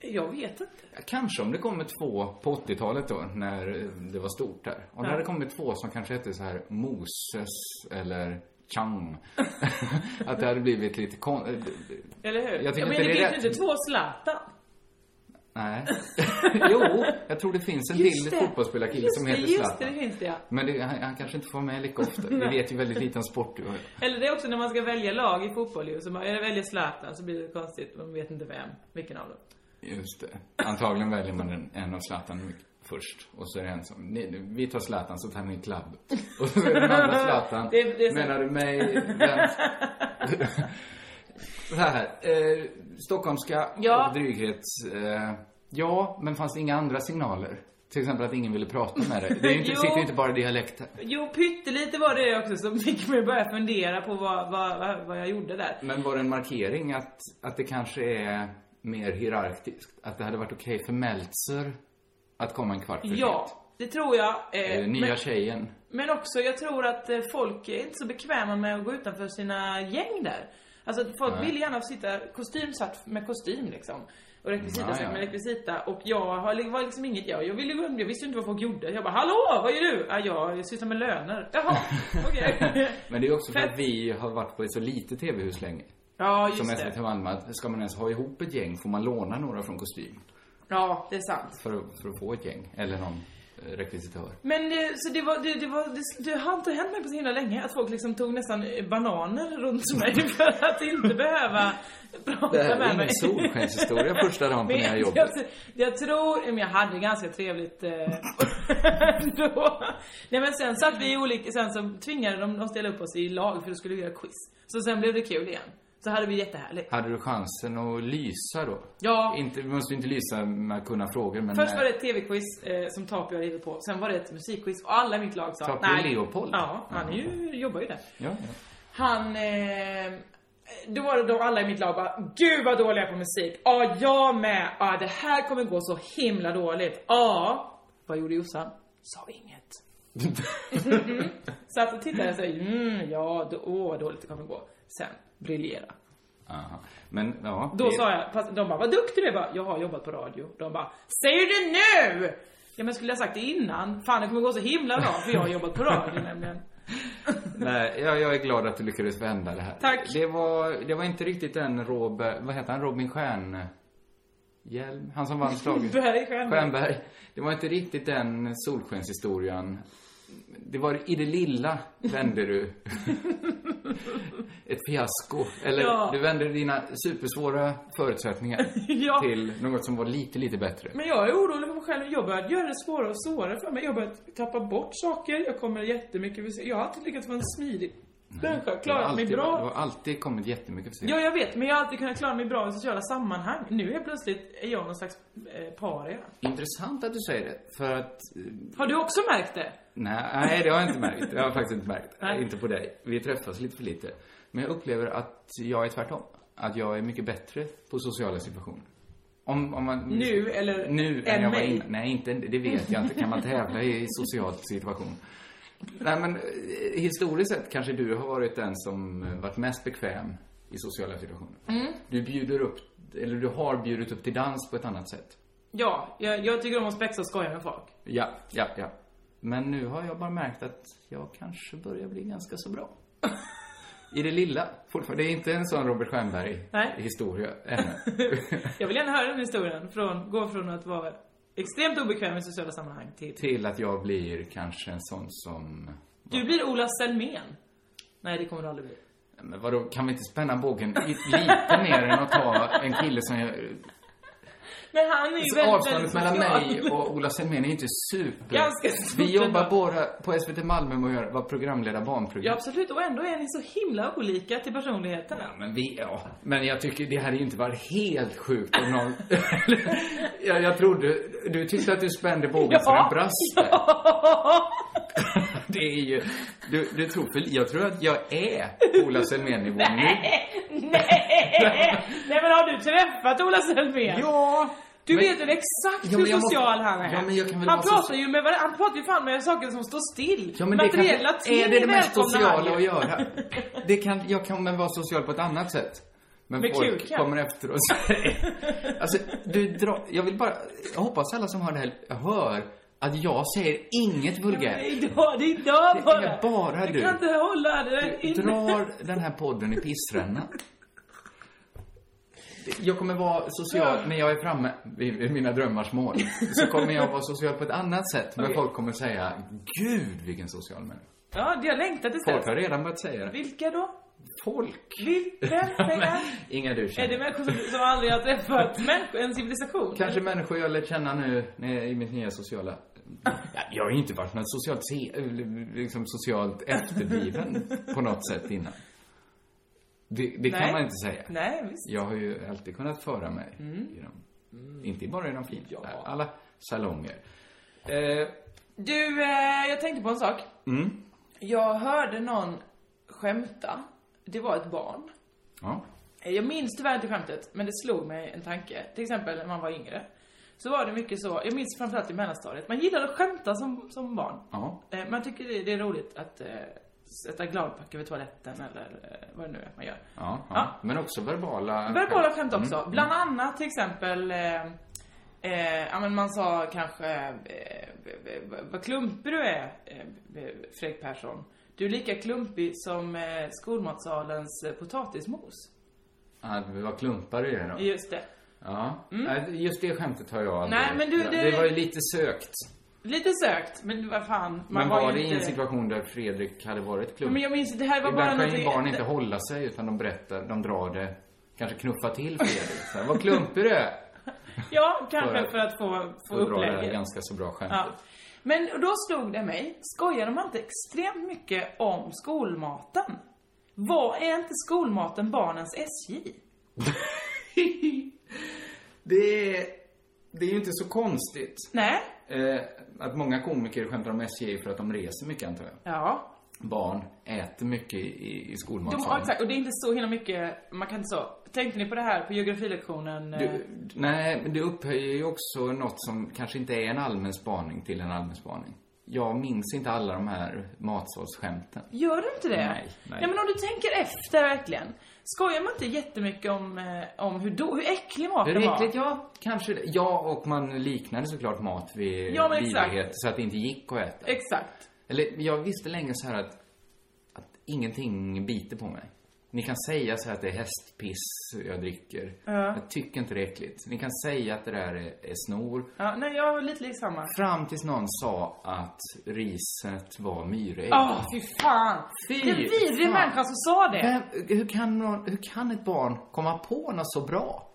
Jag vet inte.
Ja, Kanske om det kommer två på 80-talet då, när eh, det var stort där. Om det hade kommit två som kanske hette så här Moses eller Chang. att det hade blivit lite kon... eh,
Eller hur?
Jag
ja,
tycker
men
inte det är
finns
rätt.
ju inte två Zlatan.
Nej. jo, jag tror det finns en
Just
till
det.
fotbollsspelarkille
Just
som
det,
heter
just
Zlatan.
det, det finns det, ja.
Men det, han, han kanske inte får med lika ofta. Vi vet ju väldigt lite om sport du och jag.
Eller det är också när man ska välja lag i fotboll ju. Så man, eller väljer Zlatan så blir det konstigt. Man vet inte vem. Vilken av dem.
Just det. Antagligen väljer man en, en av Zlatan mycket först. Och så är det en som, ni, vi tar Zlatan så tar ni klubb. Och så är det den andra Zlatan.
Det är- det är så-
Menar du mig? Vem? så här. Eh, Stockholmska
Ja.
och dryghet. Eh, ja, men fanns det inga andra signaler? Till exempel att ingen ville prata med dig. Det är ju inte,
Jo.
sitter ju inte bara i dialekter.
Jo, pyttelite var det också som fick mig att börja fundera på vad, vad, vad, vad jag gjorde där.
Men var det en markering att, att det kanske är mer hierarkiskt? Att det hade varit okej för Meltzer att komma en kvart för
Ja, det tror jag. eh,
Eh, nya
men,
tjejen.
men också, jag tror att eh, folk är inte så bekväma med att gå utanför sina gäng där. Alltså, att folk vill gärna sitta kostymsatt med kostym liksom. Och rekvisita
Ja,
satt
ja.
med rekvisita. Och jag har, det var liksom inget jag. Jag ville gå under, jag visste ju inte vad folk gjorde. Jag bara, hallå, vad gör du? Ah, jag sysslar med löner. Jaha, okej.
Men det är också för
Fett.
att vi har varit på ett så litet tv-hus länge.
Ja,
Som
just
SVT
det.
Malmö, att ska man ens ha ihop ett gäng får man låna några från kostym.
Ja, det är sant.
För, att- för att få ett gäng. Eller någon eh, rekvisitör.
Men eh, så det var, det, det var, det, det har inte hänt mig på så himla länge att folk liksom tog nästan eh, bananer runt mig för att inte behöva prata
Det här
med
är
mig.
ingen solskenshistoria första dagen på
Men
nya
jag,
jobbet.
jag, jag tror, men jag hade ganska trevligt eh, då. Nej men sen satt vi i olika, sen så tvingade de oss dela upp oss i lag för då skulle vi göra quiz. Så sen blev det kul igen. Så hade vi jättehärligt.
Hade du chansen att lysa då?
Ja.
Inte, du måste ju inte lysa med att kunna frågor men...
Först
eh,
var det ett TV-quiz eh, som Tapio hade givit på, sen var det ett musikquiz och alla i mitt lag sa
Tapio Leopold?
Ja, han är ju, jobbar ju där.
Ja, ja.
Han... Eh, då var det de alla i mitt lag bara, gud vad dåliga på musik. Ja, jag med. Ja, det här kommer gå så himla dåligt. Ja. Vad gjorde Jossan? Sa inget. mm. Satt och tittade och sa, mm, ja, då, åh vad dåligt det kommer gå. Sen, briljera.
Aha. Men ja.
Då
det-
sa jag, fast de bara, vad duktig du är. Jag bara, Jag har jobbat på radio. De bara, säger du det nu? Ja men skulle jag sagt det innan? Fan det kommer gå så himla bra för jag har jobbat på radio nämligen.
Nej, jag, jag är glad att du lyckades vända det här.
Tack.
Det var, det var inte riktigt en Rob, vad heter han, Robin Stjärn... Hjelm? Han som vann slaget.
Berg Stjernberg.
Stjernberg. Det var inte riktigt den solskenshistorien. Det var i det lilla vände du. Ett fiasko. Eller
Ja.
du vände dina supersvåra förutsättningar
Ja.
till något som var lite, lite bättre.
Men jag är orolig för mig själv. Jag börjar göra det svårare och svårare för mig. Jag börjar tappa bort saker. Jag kommer jättemycket för sent. Jag har alltid lyckats vara en smidig människa.
Du har
Klarat mig
alltid, du
bra.
har alltid kommit jättemycket för sent.
Ja, jag vet. Men jag har alltid kunnat klara mig bra i sociala sammanhang. Nu är plötsligt är jag någon slags eh, paria.
Intressant att du säger det. För att
Har du också märkt det?
Nej, nej, det har jag inte märkt. Det har jag faktiskt inte märkt.
Nej.
Inte på dig. Vi träffas lite för lite. Men jag upplever att jag är tvärtom. Att jag är mycket bättre på sociala situationer. Om, om man,
Nu eller
nu
än
än jag var
mig?
innan. Nej, inte, det vet jag inte. Kan man tävla i social situation? Nej, men eh, historiskt sett kanske du har varit den som eh, varit mest bekväm i sociala situationer.
Mm.
Du bjuder upp, eller du har bjudit upp till dans på ett annat sätt.
Ja, jag, jag tycker om att spexa och skoja med folk.
Ja, ja, ja. Men nu har jag bara märkt att jag kanske börjar bli ganska så bra. I det lilla. Fortfarande. Det är inte en sån Robert
Nej.
Stjernberg-historia ännu.
Jag vill gärna höra den historien. Från, gå från att vara extremt obekväm i sociala sammanhang till... typ,
Till att jag blir kanske en sån som...
Du blir Ola Selmén. Nej, det kommer du aldrig bli.
Men vadå, kan vi inte spänna bågen i- lite mer än att ta en kille som jag...
Men han är ju väldigt,
Avståndet
väldigt
mellan
social.
mig och Ola Selmén är ju inte super.
Ganska stort
Vi jobbar
ändå.
båda på SVT Malmö med att göra- vara programledare barnprogram.
Ja, absolut. Och ändå är ni så himla olika till personligheterna.
Ja, men vi, ja. Men jag tycker det hade ju inte varit helt sjukt om någon... jag, jag trodde... Du tyckte att du spände bågen så den brast där. Det är ju... Du, du tror för... Jag tror att jag är på Ola Selmén-nivå nu.
Nej! Nej, men har du träffat Ola Selmén?
Ja!
Du
men-
vet väl exakt
Ja, men
hur
jag måste-
social han är?
Ja, men jag kan väl
han
vara
pratar
social-
ju med varandra, han pratar ju fan med saker som står still.
Ja, men det kan,
Materiella ting
är det det mest
välkomnar han ju.
sociala att göra? Det kan, jag kommer vara social på ett annat sätt. Men
Med
folk
kuken.
kommer efter och säger... Alltså, du drar... Jag vill bara... Jag hoppas alla som hör det här hör att jag säger inget vulgärt.
Nej, idag, det är idag bara.
Det är bara
du.
du.
kan inte hålla det
Du
inne.
drar den här podden i pissrännan. Jag kommer vara social, när jag är framme vid vid mina drömmars mål, så kommer jag vara social på ett annat sätt. Men folk kommer säga, gud vilken social människa.
Ja, det- jag längtar tills
Folk
dess.
har redan börjat säga det.
Vilka då?
Folk.
Vilka? Säg en.
Inga du
Är det
känner.
människor som, som aldrig har träffat människor, en civilisation?
Kanske människor jag lärt känna nu när jag- i mitt nya sociala... Ja, Jag har ju inte varit något socialt, se- eller liksom socialt efterbliven på något sätt innan. Det, det
Nej.
kan man inte säga.
Nej, Mm. visst.
Jag har ju alltid kunnat föra mig i de, inte bara i de fina, alla salonger. Eh,
Du, eh, jag tänkte på en sak.
Mm.
Jag hörde någon skämta. Det var ett barn.
ja.
Eh, Jag minns tyvärr inte skämtet, men det slog mig en tanke. Till exempel när man var yngre. Så var det mycket så, jag minns framförallt i mellanstadiet, man gillar att skämta som, som barn.
Ja.
Eh, Man tycker det, det är roligt att eh, sätta gladpack över toaletten eller eh, vad det nu är man gör.
Ja, ja.
Ja.
men också verbala
Verbala skämt
Mm.
också. Bland annat till exempel eh, eh, ja, men man sa kanske eh, v- v- v- Vad klumpig du är eh, v- Fredrik Persson. Du är lika klumpig som eh, skolmatsalens eh, potatismos.
Mm. Ja, det var klumpar i det då.
Just det.
Ja. Nej, Just det skämtet har jag aldrig.
Mm. Nej, men du,
Ja,
det-
det var ju lite sökt.
Lite sökt, men vad fan. Man
Men var,
ju
det i en
inte-
situation där Fredrik hade varit klumpig?
Men jag minns, det här var bara
Ibland kan ju
någonting...
barn inte hålla sig utan de berättar, de drar det, kanske knuffar till Fredrik. Så här, Vad klumpig du är!
Ja, kanske
För
för
att-
att, få, få
Och drar det här
upplägget.
ganska så bra skämtet.
Ja. Men då slog det mig, skojar de inte extremt mycket om skolmaten? Vad är inte skolmaten barnens SJ?
Det är, det är ju inte så konstigt
Nej?
eh, att många komiker skämtar om SJ för att de reser mycket antar jag.
Ja.
Barn äter mycket i, i
De,
skolmatsalen.
ja, exakt, och det är inte så himla mycket, man kan inte så. Tänkte ni på det här på geografilektionen? eh,
Du, nej, men det upphöjer ju också något som kanske inte är en allmän spaning till en allmän spaning. Jag minns inte alla de här matsalsskämten.
Gör du inte det?
Nej, nej.
men om du tänker efter verkligen. Skojar man inte jättemycket om, eh, om hur, då, hur äcklig maten
Hur äckligt?
var?
Ja, kanske det. Ja, och man liknade såklart mat vid
Ja, men exakt.
vidrighet så att det inte gick att äta.
Exakt.
Eller jag visste länge så här att ingenting biter på mig. Ni kan säga så här att det är hästpiss jag dricker. Jag tycker inte det är äckligt. Ni kan säga att det där är, är snor.
Ja, nej, jag var lite lik samma.
Fram tills någon sa att riset var myrägg.
Åh, fy fan!
Fy
det är en vidrig
fan.
människa som sa det.
Vem, hur, kan någon, hur kan ett barn komma på något så bra?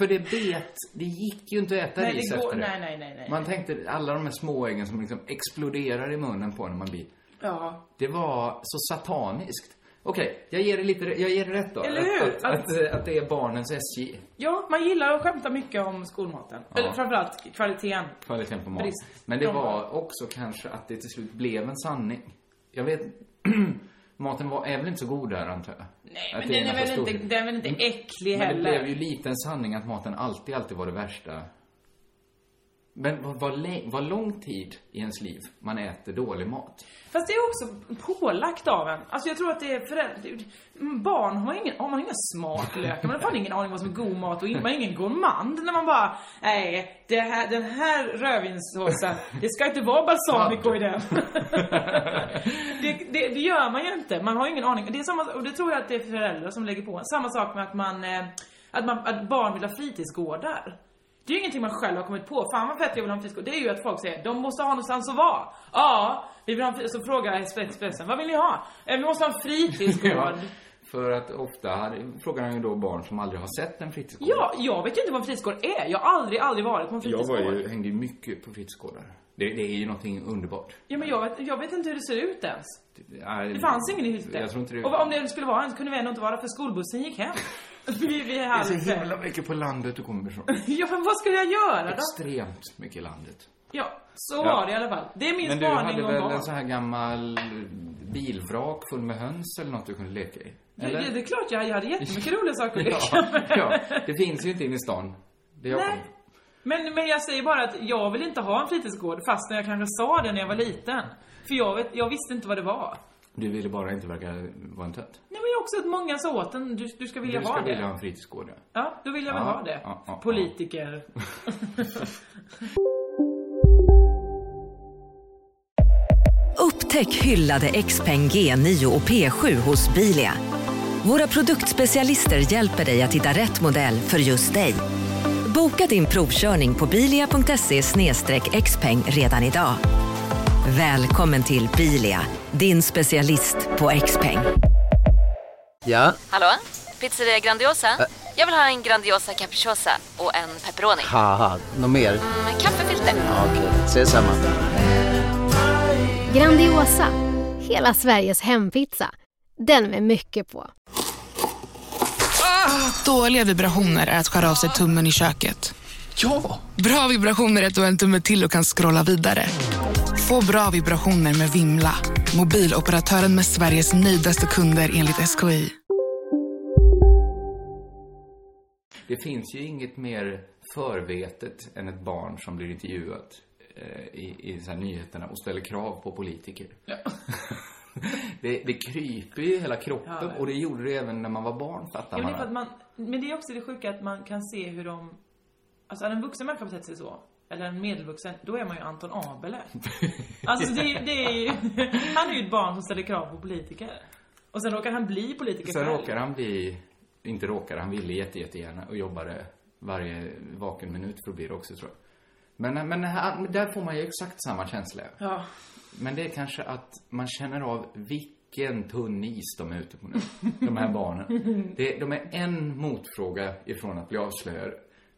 För det bet, det gick ju inte att äta
Nej, det
ris
går-
efter det.
nej, nej, nej, nej.
Man tänkte alla de här småäggen som liksom exploderar i munnen på när man blir.
Ja.
Det var så sataniskt. Okej, jag ger det lite, jag ger det rätt då.
Eller hur?
Att, att, att, att det är barnens SJ.
ja, man gillar att skämta mycket om skolmaten. Eller framförallt kvaliteten.
Kvaliteten på mat.
Brist.
Men det
Ja.
var också kanske att det till slut blev en sanning. Jag vet, maten var, är väl inte så god där antar jag?
Nej,
Att
men
det
den är,
en
väl
stor- Mm.
inte, den är väl inte äcklig
Men det
heller.
blev ju lite en sanning att maten alltid, alltid var det värsta. Men vad, vad, lä- vad lång tid i ens liv man äter dålig mat.
Fast det är också pålagt av en. Alltså jag tror att det är föräldrar... Barn har ingen, har man ingen smaklökar, man har fan ingen aning vad som är god mat och in- man är ingen gourmand när man bara, nej, det här, den här rödvinssåsen, det ska inte vara balsamico i den. det, det, det gör man ju inte, man har ju ingen aning. Det är samma, och det tror jag att det är föräldrar som lägger på en. Samma sak med att man, eh, att, man att barn vill ha fritidsgårdar. Det är ju ingenting man själv har kommit på. Fan vad fett jag vill ha en fritidsgård. Det är ju att folk säger, de måste ha någonstans att vara. Ja, vi vill ha en fritidsgård. Så frågar Expressen, vad vill ni ha? "Eh, Vi måste ha en fritidsgård.
För att ofta hade, frågar han ju då barn som aldrig har sett en fritidsgård.
ja, jag vet ju inte vad en fritidsgård är. Jag har aldrig, aldrig varit på en
jag
fritidsgård.
var ju, hängde ju mycket på fritidsgårdar. Det, det är ju någonting underbart.
Ja, men jag vet, jag vet inte hur det ser ut ens.
Det
Det fanns ingen i Hylte.
Jag tror inte det.
Och om det skulle vara en så kunde vi ändå inte vara där, för skolbussen gick hem. vi, vi är
det är
halv
så
fem.
himla mycket på landet du kommer ifrån.
Ja, men vad skulle jag göra då?
Extremt mycket landet.
Ja, så
Ja.
var det i alla fall. Det är min
Men du hade
spaning om
väl
barn.
en sån här gammal bilvrak full med höns eller något du kunde leka i?
Ja, ja, det är klart jag, jag hade jättemycket roliga saker att leka
ja,
med.
ja, det finns ju inte inne i stan. Det jag
Nej. Men, men jag säger bara att jag vill inte ha en fritidsgård fastän jag kanske sa det när jag var liten. För jag, vet, jag visste inte vad det var.
Du ville bara inte verka vara en tönt.
Nej men jag också att många sa åt en, du, du ska vilja
Du
ha
ska
det.
vilja ha en fritidsgård, ja.
Ja, då vill jag väl
Ja,
ha det.
ja, ja, ja.
Politiker.
Upptäck hyllade XPeng G9 och P7 hos Bilia. Våra produktspecialister hjälper dig att hitta rätt modell för just dig. Boka din provkörning på bilia.se xpeng redan idag. Välkommen till Bilia, din specialist på XPeng.
Ja,
Hallå? Pizzeria Grandiosa? Jag vill ha en Grandiosa capriciosa och en pepperoni.
haha, något mer?
Med kaffefilter.
Ja, Okej, ses samma.
Grandiosa, hela Sveriges hempizza. Den med mycket på.
Dåliga vibrationer är att skära av sig tummen i köket.
Ja!
Bra vibrationer är att du har en tumme till och kan scrolla vidare. Få bra vibrationer med Vimla. Mobiloperatören med Sveriges nöjdaste kunder enligt SKI.
Det finns ju inget mer förvetet än ett barn som blir intervjuat eh, i, i så här nyheterna och ställer krav på politiker. det, det kryper ju i hela kroppen och det gjorde det även när man var barn, fattar
Jo, det är
man.
för att man, men det är också det sjuka att man kan se hur de... Alltså hade en vuxen människa betett sig så, eller en medelvuxen, då är man ju Anton Abele. Alltså det, är- det är ju... Han är ju ett barn som ställer krav på politiker. Och sen råkar han bli politiker
Sen
själv.
råkar han bli, inte råkar, han ville jätte, jättegärna och jobbade varje vaken minut för att bli det också tror jag. Men, men här, där får man ju exakt samma känsla.
Ja.
Men det är kanske att man känner av vilken tunn is de är ute på nu. De här barnen. Det, de är en motfråga ifrån att bli avslöjade.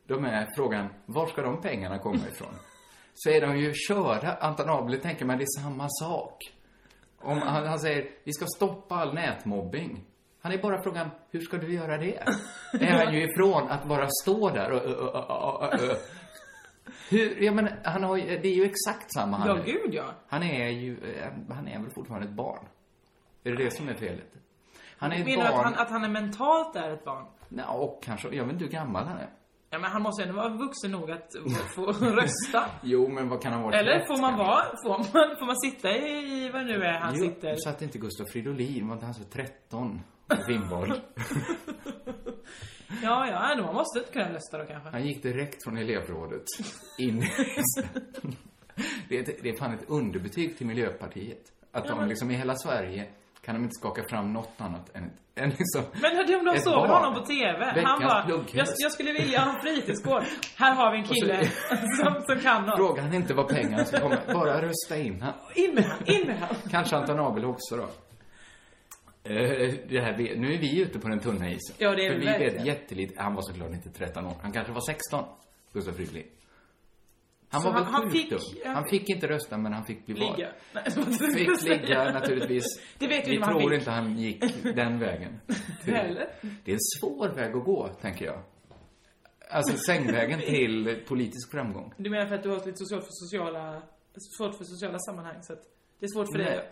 De är frågan, var ska de pengarna komma ifrån? Så är de ju körda. Anton Abele tänker man, det är samma sak. Om han, han säger, vi ska stoppa all nätmobbing. Han är bara frågan, hur ska du göra det? Är han ju ifrån att bara stå där och... ö, ö, ö, ö, ö. Hur, jag menar, han har ju, det är ju exakt samma han
Ja,
är.
gud ja.
Han är ju, eh, han är väl fortfarande ett barn? Är det det som är felet? Han är ett
Menar du att
barn,
han, att han är mentalt är ett barn?
Ja, och kanske, jag vet inte hur gammal han är.
Ja, men han måste ju ändå vara vuxen nog att få rösta.
Jo, men vad kan han vara?
Eller
Ett,
får man
kanske?
vara, får man, får man sitta i vad det nu är han
jo,
sitter?
satt inte Gustav Fridolin, var inte han så 13? Vimborg.
Ja, ja, ändå, man måste inte kunna rösta då kanske.
Han gick direkt från elevrådet in i det, är ett- det är fan ett underbetyg till Miljöpartiet. Att de liksom i hela Sverige kan de inte skaka fram något annat än, ett- än liksom
Men hade de
ett
såg
barn.
honom på TV. Han
Veckans
bara,
plugghus.
jag, jag skulle vilja ha en fritidsgård. Här har vi en kille som, som kan något.
Fråga han inte vad pengarna ska komma. Bara rösta in han.
In med han, in med han.
Kanske Anton Abel också då. Eh, Det här, vi- nu är vi ute på den tunna isen.
Ja, det är
För
vi
vi vet
verkligen.
jättelite. Han var såklart inte 13 år. Han kanske var 16, Gustav Fridolin. Han
Så
var väl
han- han
sjukt
fick-
dum. Han fick inte rösta, men han fick bli vald.
Ligga. Nej, det var inte det jag
Fick
skulle
ligga
säga.
naturligtvis.
Det vet vi
Vi
inte vad han
tror
fick.
inte han gick den vägen.
Heller.
Det är en svår väg att gå, tänker jag. Alltså sängvägen till politisk framgång.
Du menar för att du har lite socialt för sociala, svårt för sociala sammanhang så att det är svårt för dig?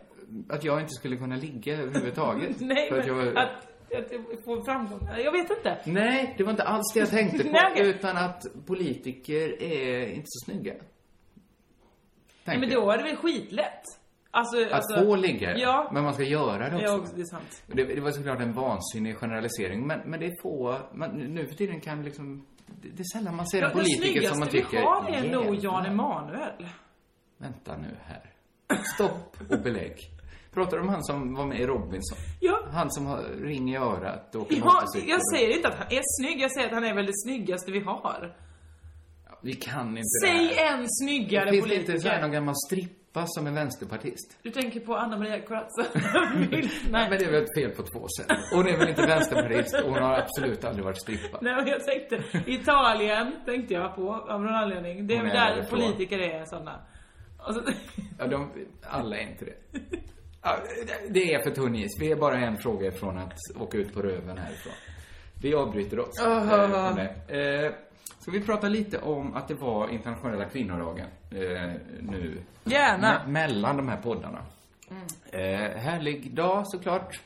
Att jag inte skulle kunna ligga överhuvudtaget.
Nej,
för att jag
men
var...
att, att du får framgång. Jag vet inte.
Nej, det var inte alls det jag tänkte på.
Nej, okej.
utan att politiker är inte så snygga.
Nej, men
Tänker
då är det väl skitlätt? Alltså,
jag.
alltså,
Att få ligga,
Ja.
men man ska göra det också.
Ja, det är sant.
Det, det var såklart en vansinnig generalisering, men, men det är få... Man, nu för tiden kan liksom... Det, det är sällan man ser
Ja,
en politiker som man tycker...
Den snyggaste vi har är nog
"Jävlar."
Jan Emanuel.
Vänta nu här. Stopp och belägg. Pratar du om han som var med i Robinson?
Ja.
Han som har ring i örat och åker
Ja,
motorcykel.
jag säger inte att han är snygg, jag säger att han är väl det snyggaste vi har.
Vi kan inte
Säg
det här.
en snyggare
Finns det inte så här någon
politiker.
gammal strippa som är vänsterpartist?
Du tänker på Anna Maria Corazza?
Nej, men det är väl fel på två sätt. Hon är väl inte vänsterpartist och hon har absolut aldrig varit strippa.
Nej, men jag tänkte Italien, tänkte jag på av någon anledning. Det är
Hon
väl
är
där
därifrån.
politiker är sådana. Och så,
Ja, de, alla är inte det. Ja, Det är för tunn is. Vi är bara en fråga ifrån att åka ut på röven härifrån. Vi avbryter oss.
Ah.
Eh, eh, Ska vi prata lite om att det var internationella kvinnodagen eh, nu?
Gärna.
Me- mellan de här poddarna. Eh, härlig dag såklart.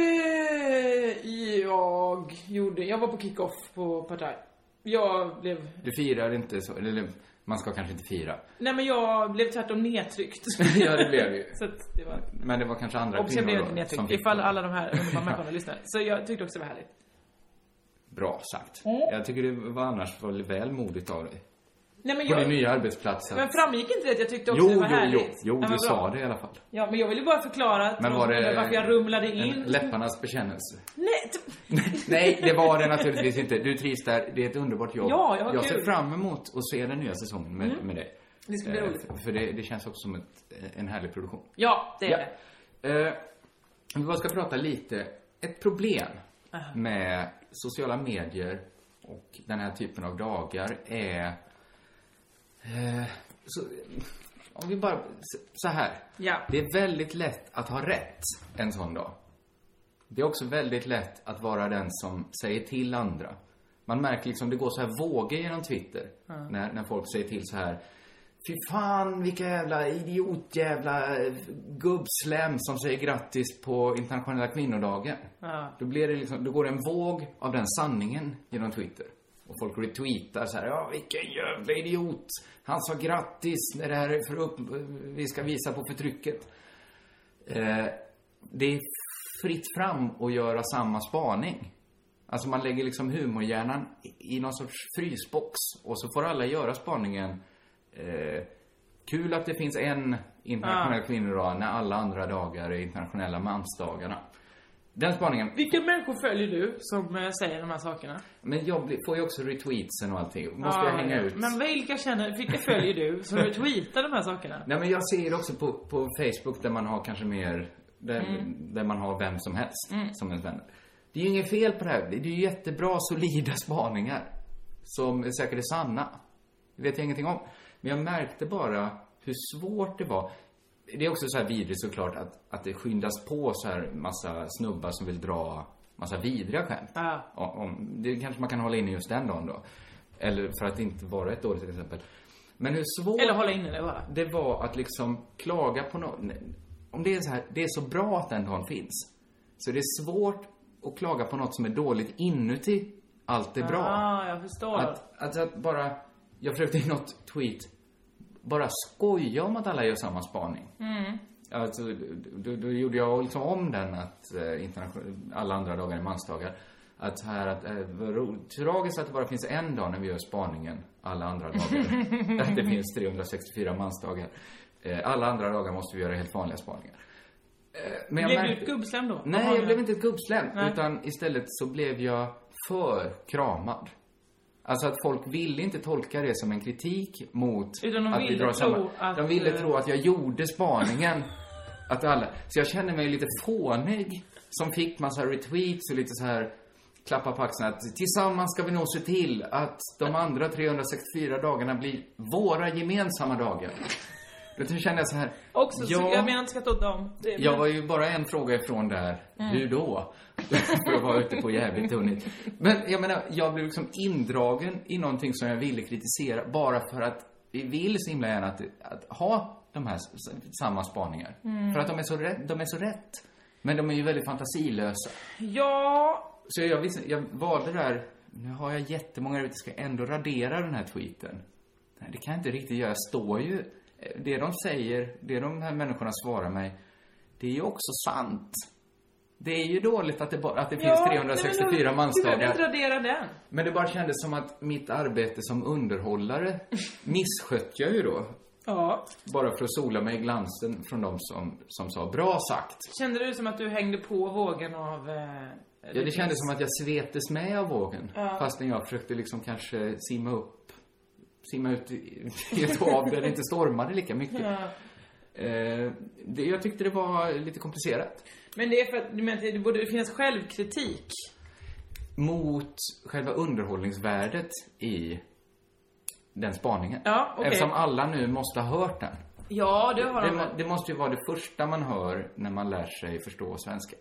Eh, jag gjorde, jag var på kick-off på Partaj. Jag blev,
Du firar inte så, eller man ska kanske inte fira.
nej men jag blev tvärtom nedtryckt.
ja, det blev det ju.
Så att det var,
Men det var kanske andra
och sen blev jag
då
inte
som
nedtryckt
fick
ifall
det.
alla de här underbara människorna lyssnade. Så jag tyckte också det var härligt.
Bra sagt.
Mm.
Jag tycker det var annars väl, väl modigt av dig.
Nej men
På din
jag,
nya arbetsplats. att-
men framgick inte det att jag tyckte också
Jo,
det
jo,
var
jo,
härligt? Ja,
jo, du
vad bra.
sa det i alla fall.
Ja men jag ville bara förklara att
Men
de
var
undrade
det
varför jag rumlade
en
in.
läpparnas bekännelse?
Nej, t-
Nej, det var det naturligtvis inte. Du trivs där. Det är ett underbart jobb.
Ja, jag har
jag ser
kul. Mm.
fram emot att se den nya säsongen med, med dig.
Det ska bli
Eh,
roligt.
för- För det, det känns också som ett, eh, en härlig produktion.
Ja, det är det.
Eh, vi bara ska prata lite, ett problem med sociala medier och den här typen av dagar är... Eh, så, om vi bara, så- så här.
Ja.
Det är väldigt lätt att ha rätt en sån dag. Det är också väldigt lätt att vara den som säger till andra. Man märker liksom, det går så här vågor genom Twitter. När, när folk säger till så här. Fy fan vilka jävla idiotjävla eh, gubbslem som säger grattis på internationella kvinnodagen. Då blir det liksom, då går det en våg av den sanningen genom Twitter. Och folk retweetar så här, ja vilken jävla idiot. Han sa grattis när det här är för upp, vi ska visa på förtrycket. Eh, det är fritt fram att göra samma spaning. Alltså man lägger liksom humorhjärnan i i någon sorts frysbox och så får alla göra spaningen. Eh, kul att det finns en internationell kvinnodag när alla andra dagar är internationella mansdagarna. Den spaningen.
Vilka människor följer du som eh, säger de här sakerna?
Men jag blir, får ju också retweetsen och allting. Måste jag hänga ut?
Men vilka känner, vilka följer du som retweetar de här sakerna?
Nej men jag ser också på, på Facebook där man har kanske mer, där,
Mm.
där man har vem som helst som ens vänner. Det är ju inget fel på det här. Det är ju jättebra solida spaningar. Som säkert är sanna. Det vet jag ingenting om. Men jag märkte bara hur svårt det var. Det är också så här vidrigt såklart att, att det skyndas på så här massa snubbar som vill dra massa vidriga skämt.
Ja.
Om, om, det kanske man kan hålla inne just den dagen då. Eller för att inte vara ett dåligt exempel. Men hur svårt
Eller hålla inne det bara.
det var att liksom klaga på något. Om det är så här, det är så bra att den dagen finns. Så det är svårt att klaga på något som är dåligt inuti allt det bra.
Ah, jag förstår.
Att, att, att bara, jag försökte i något tweet bara skoja om att alla gör samma spaning. Alltså, då, då gjorde jag liksom om den att eh, internation- alla andra dagar är mansdagar. Att så här att, eh, vad ro- tragiskt att det bara finns en dag när vi gör spaningen, alla andra dagar. att det finns 364 mansdagar. Eh, alla andra dagar måste vi göra helt vanliga spaningar. Men jag
blev du
märkte-
ett gubbslem då?
Nej, jag blev inte ett gubbslem.
Nej.
Utan istället så blev jag för kramad. Alltså att folk ville inte tolka det som en kritik mot
Utan de
att vi
ville tro
drar samman.
att-
De ville tro att jag gjorde spaningen. att alla... Så jag kände mig lite fånig. Som fick massa retweets och lite så här klappa på axeln att tillsammans ska vi nog se till att de andra 364 dagarna blir våra gemensamma dagar. Då kände jag så här.
Också, så,
ja.
jag menar inte skatta åt dem. Det,
Jag var ju bara en fråga ifrån där. Hur då? För jag var ute på jävligt tunnigt. Men jag menar, jag blev liksom indragen i någonting som jag ville kritisera bara för att vi vill så himla gärna att, att ha de här s- s- samma spaningar. För att de är, så rätt, de är så rätt. Men de är ju väldigt fantasilösa.
Ja,
Så jag, visste, jag valde det här, nu har jag jättemånga ute, ska jag ändå radera den här tweeten? Nej, det kan jag inte riktigt göra. Jag står ju, det de säger, det de här människorna svarar mig, det är ju också sant. Det är ju dåligt att det, bara, att det finns
ja,
364
Du behöver inte
mansdagar.
radera den.
Men det bara kändes som att mitt arbete som underhållare misskött jag ju då.
Ja.
Bara för att sola mig i glansen från de som, som sa bra sagt.
Kände du som att du hängde på vågen av... Eh,
Ja, det kändes som att jag svetes med av vågen. Fastän jag försökte liksom kanske simma upp, simma ut i i ett hav där det inte stormade lika mycket.
Ja.
Eh, det, jag tyckte det var lite komplicerat.
Men det är för att du menar att det borde finnas självkritik.
Mot själva underhållningsvärdet i den spaningen.
Ja, okej.
Eftersom alla nu måste ha hört den.
Ja, det har
Det,
de.
må- det måste ju vara det första man hör när man lär sig förstå svenska.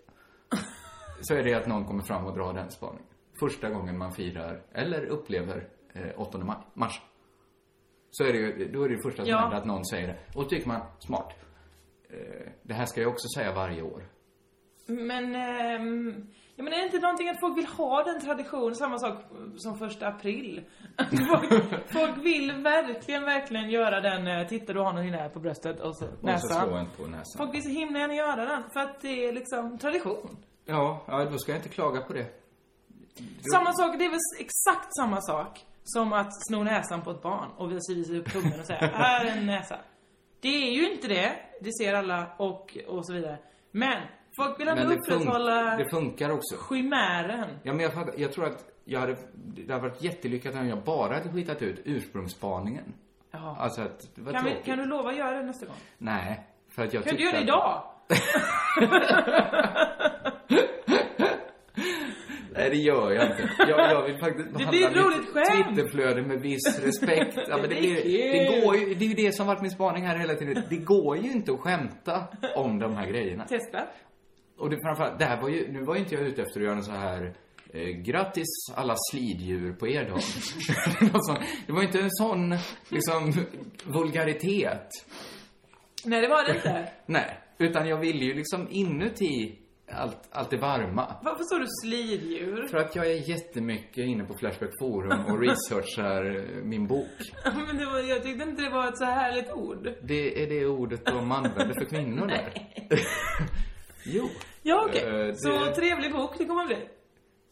Så är det att någon kommer fram och drar den spaningen. Första gången man firar, eller upplever, eh, 8 maj, mars. Så är det ju, då är det ju första som
Ja.
händer att någon säger det. Och då tycker man, smart. Eh, det här ska jag också säga varje år.
Men, ehm, ja, men är det inte någonting att folk vill ha den traditionen? Samma sak som första april. folk, folk vill verkligen, verkligen göra den, eh, titta du har någonting där på bröstet och så
Och så slår
näsan.
en på näsan.
Folk vill så himla gärna göra den för att det är liksom tradition.
Ja, ja, då ska jag inte klaga på det.
Samma sak, det är väl exakt samma sak som att sno näsan på ett barn och visa, visa upp tummen och säga här är en näsa. Det är ju inte det, det ser alla och, och så vidare. Men folk vill ändå
Men det,
upprätthålla
fun- det funkar också.
chimären.
Ja, men jag, fattar- jag tror att jag hade, det hade varit jättelyckat om jag bara hade skitat ut ursprungsspaningen.
Ja.
Alltså att det var
Kan, vi,
tråkigt.
kan du lova att göra det nästa gång?
Nej, för att jag
Kan du
tyckte
göra det
att-
idag?
Nej, det gör jag inte. Jag, jag vill faktiskt
Det blir ett
behandla
roligt
mitt
skämt.
Twitterflöde med viss respekt. Ja, men det,
Det är
blir,
kul.
det går ju, det är ju det som varit min spaning här hela tiden. Det går ju inte att skämta om de här grejerna.
Testa.
Och det framförallt, det här var ju, nu var ju inte jag ute efter att göra en så här eh, grattis alla sliddjur på er dag. Något sånt. det var ju inte en sån, liksom, vulgaritet.
Nej, det var det inte.
Nej, utan jag ville ju liksom inuti allt, allt det varma.
Varför står du slirdjur?
För att jag är jättemycket inne på Flashback Forum och researchar eh, min bok.
Men det var, jag tyckte inte det var ett så härligt ord.
Det är det ordet de använder för kvinnor där. jo.
Ja, okej.
Eh, det-
Så trevlig bok det kommer bli.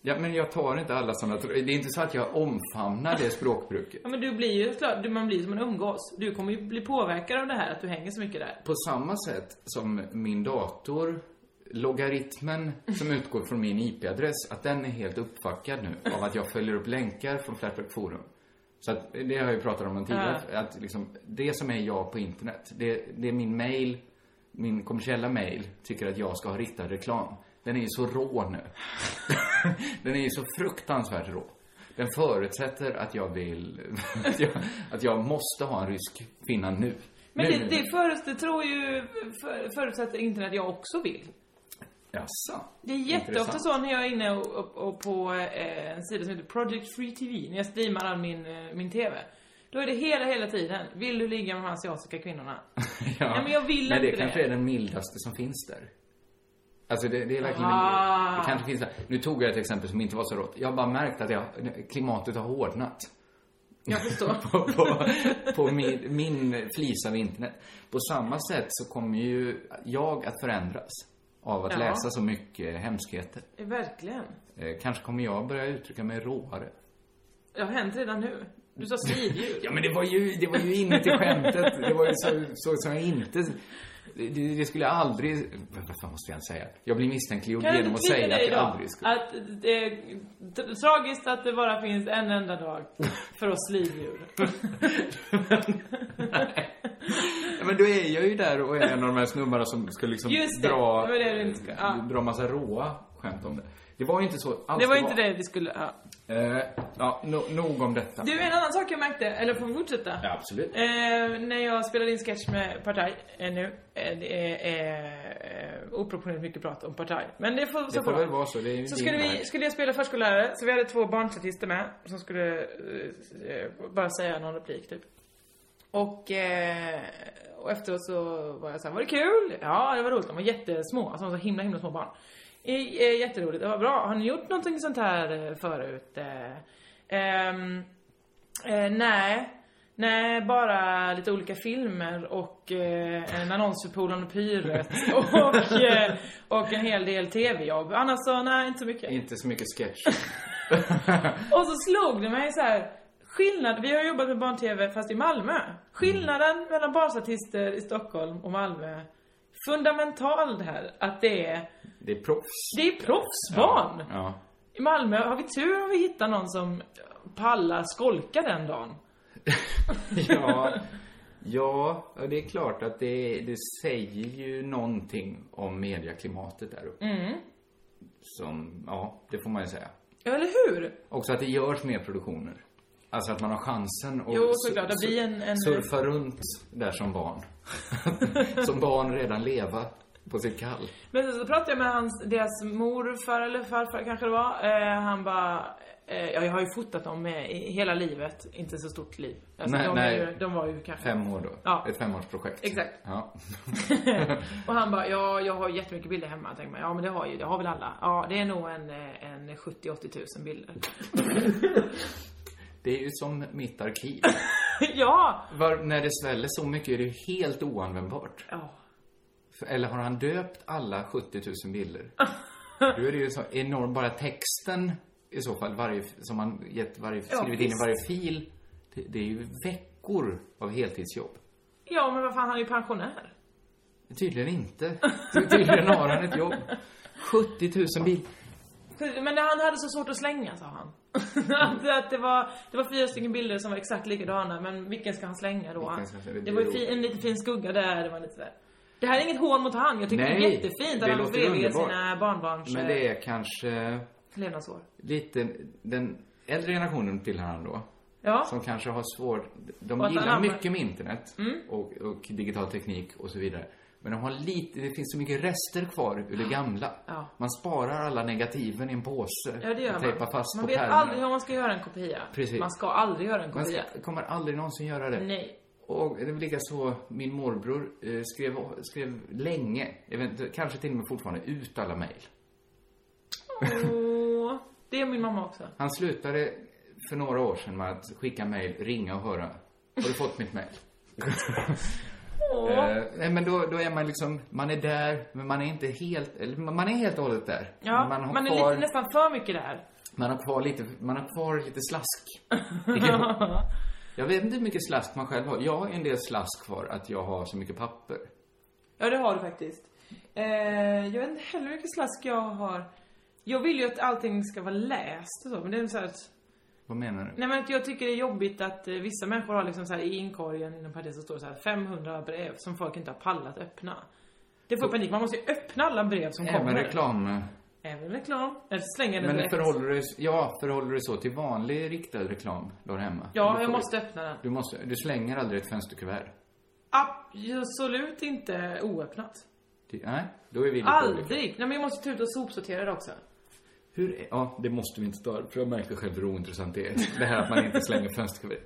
Ja, men jag tar inte alla sådana... Det är inte så att jag omfamnar det språkbruket.
Ja, men du blir ju klart, du- man blir ju som en umgås. Du kommer ju bli påverkad av det här att du hänger så mycket där.
På samma sätt som min dator, logaritmen som utgår från min IP-adress, att den är helt uppfackad nu av att jag följer upp länkar från Flashback Forum. Så att, det har jag ju pratat om tidigare, att liksom, det som är jag på internet, det, det är min mail, min kommersiella mail tycker att jag ska ha riktad reklam. Den är ju så rå nu. den är ju så fruktansvärt rå. Den förutsätter att jag vill, att jag, att jag måste ha en rysk kvinna nu.
Men
nu,
det,
nu,
det förutsätter, tror ju, för, förutsätter internet jag också vill.
Jaså?
Det är jätteofta
Intressant.
så när jag är inne och, och, och på eh, en sida som heter Project Free TV, när jag streamar all min, eh, min TV. Då är det hela, hela tiden, vill du ligga med de asiatiska kvinnorna?
ja.
Nej, men jag vill
men det.
inte
kanske
det.
är den mildaste som finns där. Alltså det, det är verkligen...
Ah.
Det kanske finns där. Nu tog jag ett exempel som inte var så rått. Jag har bara märkt att jag, klimatet har hårdnat.
Jag förstår.
på, på, på min, min flis av internet. På samma sätt så kommer ju jag att förändras av att
Ja.
läsa så mycket hemskheter.
Verkligen.
Eh, kanske kommer jag börja uttrycka mig råare.
Det har hänt redan nu. Du sa slirdjur.
Ja men det var ju, det var ju inuti skämtet. Det var ju så, så som jag inte det, det skulle jag aldrig... Vad fan måste jag säga? Jag blir misstänkliggjord
Kan du
genom
inte
att
klippa
säga
det
att jag
idag?
aldrig skulle...
Att det är t- tragiskt att det bara finns en enda dag för oss livdjur.
Ja, Men då är jag ju där och är en av de här snubbarna som ska liksom
Just det,
dra...
det var det du inte skulle- ja.
Dra massa råa skämt om det. Det var ju inte så alls
Det var inte det vi skulle... Ja.
Eh, ja, no, nog om detta.
Du, en annan sak jag märkte, eller får vi fortsätta?
Ja, absolut.
Eh, när jag spelade in sketch med Partaj eh, nu, eh, det är eh, oproportionerligt mycket prat om Partaj. Men det får, så
det får
bra.
väl vara så. Det är ju
Så
din
skulle, vi,
värld.
skulle jag spela förskollärare, så vi hade två barnstartister med som skulle eh, eh, bara säga någon replik typ. Och, eh, och efteråt så var jag såhär, var det kul? Ja, det var roligt. De var jättesmå, alltså de var så himla himla små barn. I, eh, jätteroligt, det var bra. Har ni gjort någonting sånt här eh, förut? Eh, ehm, eh, nej. Nej, bara lite olika filmer och eh, en annons för Polarn och Pyret och, eh, och en hel del tv-jobb. Annars så, nej, inte så mycket.
Inte så mycket sketch.
Och så slog det mig så här. Skillnad, vi har jobbat med barn-tv fast i Malmö. Skillnaden mellan barnstartister i Stockholm och Malmö. Fundamental det här. Att det är,
Det är proffs.
det är proffsbarn.
Ja.
I Malmö har vi tur om vi hittar någon som pallar skolka den dagen.
Ja, ja, ja, det är klart att det, det säger ju någonting om medieklimatet där uppe.
Mm.
Som, ja, det får man ju säga.
Ja, eller hur?
Också att det görs mer produktioner. Alltså att man har chansen att
Jo,
sur-
såklart. Att bli en- en-
surfa runt där som barn. som barn redan leva på sitt kall.
Men sen så pratade jag med hans, deras morfar eller farfar kanske det var. Eh, han bara, eh, ja, jag har ju fotat dem eh, i hela livet. Inte så stort liv. Alltså,
Nej,
de,
nej.
Är ju, de var ju kanske
Fem år då.
Ja.
Ett femårsprojekt.
Exakt.
Ja.
och han bara, ja jag har jättemycket bilder hemma. Tänker man, ja men det har ju, det har väl alla. Ja det är nog en, eh, en 70-80 tusen bilder.
Det är ju som mitt arkiv.
ja!
Var, när det sväller så mycket är det ju helt oanvändbart.
Ja.
För- Eller har han döpt alla 70 000 bilder? Då är det ju så enorm, bara texten i så fall, varje, som han gett varje,
Ja,
skrivit in i
visst.
varje fil. Det, det är ju veckor av heltidsjobb.
Ja men vad fan, han är ju pensionär.
Tydligen inte. Ty- Tydligen har han ett jobb. 70 000 bil.
Men det, han hade så svårt att slänga sa han. att, att det, var, det var fyra stycken bilder som var exakt likadana men vilken ska han slänga då?
Vilken ska han slänga?
Det var ju fi, en lite fin skugga där, det var lite sådär. Det här är inget hån mot han, jag tycker det är
Nej,
jättefint
det
att han
låter
förevigar
underbart.
sina barnbarns
Men det är kanske
eh, levnadsår.
lite, den äldre generationen tillhör han då.
Ja.
Som kanske har svårt, de
Och att
gillar
anamma. Mm.
mycket med internet och, och digital teknik och så vidare. Men de har lite, det finns så mycket rester kvar ur det gamla.
Ah. Ja.
Man sparar alla negativen i en påse.
Ja det gör man.
och tejpar fast
man
på
vet
pärmarna.
aldrig hur man ska göra en kopia.
Precis.
Man ska aldrig göra en
Man
kopia.
ska, kommer aldrig någonsin göra det.
Nej.
Och det var lika så min morbror eh, skrev, skrev länge, eventuellt, kanske till och med fortfarande, ut alla mejl.
Åh, det är min mamma också.
Han slutade för några år sedan med att skicka mejl, ringa och höra. Har du fått mitt mejl? Eh, nej, men då, då är man liksom, man är där, men man är inte helt, eller man är helt och hållet där.
Ja,
Men
man,
har
är
kvar,
lite, nästan för mycket där.
man har kvar lite, man har kvar lite slask. Ja. jag vet inte hur mycket slask man själv har. Jag har en del slask kvar att jag har så mycket papper.
Ja, det har du faktiskt. Eh, jag vet inte heller hur mycket slask jag har. Jag vill ju att allting ska vara läst och så, men det är så här att...
Vad menar du?
Nej men att jag tycker det är jobbigt att eh, vissa människor har liksom så här i inkorgen inom parentes så står det så här 500 brev som folk inte har pallat öppna. Det får panik, man måste ju öppna alla brev som
Även
kommer.
reklam. eh,
Även reklam. Eller slänga den
Men
direkt.
förhåller du, ja, förhåller du så till vanlig riktad reklam där hemma?
Ja,
Du
jag
får-
måste öppna den.
Du måste, du slänger aldrig ett fönsterkuvert?
Absolut inte oöppnat.
Det- Nej, då är vi lite olika.
Aldrig! Nej men jag måste ta ut och sopsortera det också.
Hur är, ja, det måste vi inte ta för jag märker själv hur ointressant det är. Det här att man inte slänger fönsterkuvert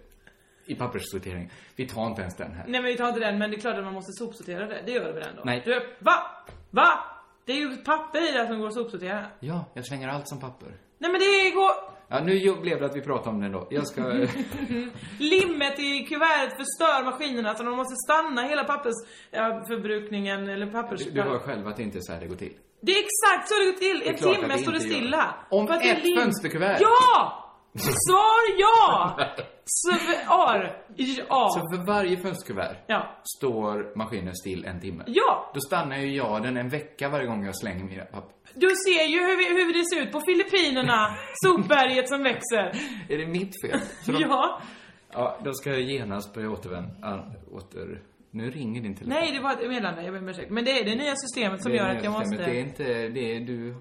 i papperssortering. Vi tar inte ens den här.
Nej men vi tar inte den men det är klart att man måste sopsortera det. Det gör vi väl ändå?
Nej.
Du, va? Va? Det är ju papper i det här som går att sopsortera.
Ja, jag slänger allt som papper.
Nej men det går...
Ja, nu ju- blev det att vi pratade om den då. Jag ska...
Limmet i kuvertet förstör maskinerna så de måste stanna hela pappersförbrukningen eller pappers...
Du hör själv att det inte är så här det går till.
Det är exakt så det går till!
är
En
klart att
timme
det
står det
inte gör.
stilla.
Om
För att det är
ett
lim-
fönsterkuvert.
Ja! Svar ja! Svar! Ja.
Så för varje fönsterkuvert
Ja.
står maskinen still en timme.
Ja.
Då stannar ju jag den en vecka varje gång jag slänger mina papper.
Du ser ju hur, vi, hur det ser ut på Filippinerna. Sopberget som växer.
Är det mitt fel? Så de,
Ja.
ja. Då ska jag genast börja återvända. Åter... Nu ringer din telefon.
Nej, det var ett meddelande. Jag ber om ursäkt. Men det är det nya systemet som
Det är
gör
det
att jag
nya
måste...
systemet. Det är inte det är du...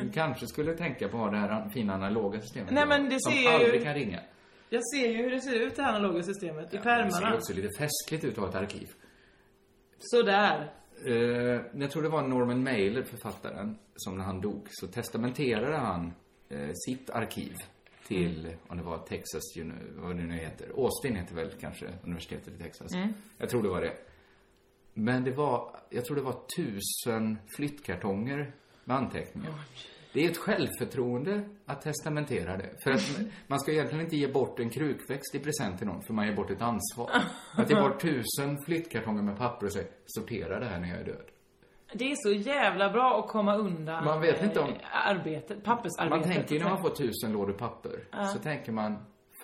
Du kanske skulle tänka på att ha det här an- fina analoga systemet.
Nej, men det
som
ser jag ju-
aldrig kan ringa.
Jag ser ju hur det ser ut det här analoga systemet i
Det ser ju
pärmarna.
också lite festligt ut att ha ett arkiv.
Sådär.
Eh, jag tror det var Norman Mailer, författaren, som när han dog så testamenterade han eh, sitt arkiv till,
Mm.
om det var Texas, uni- vad det nu heter, Austin heter väl kanske universitetet i Texas.
Mm.
Jag tror det var det. Men det var, jag tror det var tusen flyttkartonger med anteckningar. Det är ett självförtroende att testamentera det. För att man ska egentligen inte ge bort en krukväxt i present till någon, för man ger bort ett ansvar. Att ge bort tusen flyttkartonger med papper och säga, sortera det här när jag är död.
Det är så jävla bra att komma undan
Man vet inte om-
eh, arbetet, pappersarbetet.
Man tänker ju när man får tusen lådor papper, så tänker man,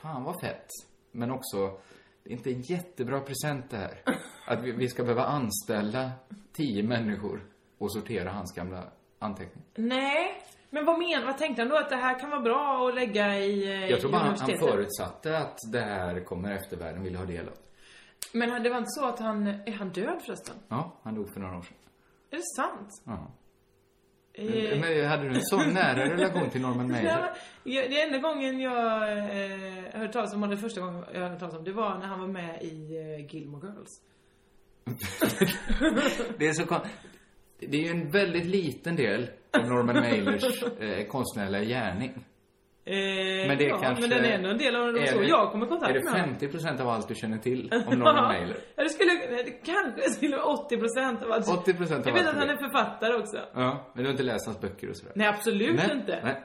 fan vad fett. Men också, det är inte en jättebra present det här. Att vi, vi ska behöva anställa tio människor och sortera hans gamla anteckningar.
Nej, men vad menar, vad tänkte han då? Att det här kan vara bra att lägga i eh,
Jag tror bara han, han
universitetet?
förutsatte att det här kommer eftervärlden vilja ha del av.
Men det var inte så att han, är han död förresten?
Ja, han dog för några år sedan.
Är det sant?
Ja.
Eh,
Men hade du en så nära relation till Norman
Nej,
Mailer?
men jag- Det enda gången jag eh, hörde talas om honom, den första gången jag hörde talas om det var när han var med i eh, Gilmore Girls.
Det är så kon- Det är ju en väldigt liten del av Norman Mailers eh, konstnärliga gärning.
Eh,
Men det är
ja,
kanske...
Men den är ändå en del av det,
är
så
det-
jag kommer i
Är
kontakt med
det
honom.
50 av allt du känner till om Norman Mailer?
Ja, det skulle, det kanske skulle vara 80 procent.
80% av
Jag
allt
vet att han
det.
är författare också.
Ja, men du har inte läst hans böcker och sådär?
Nej, absolut
nej,
inte.
Nej.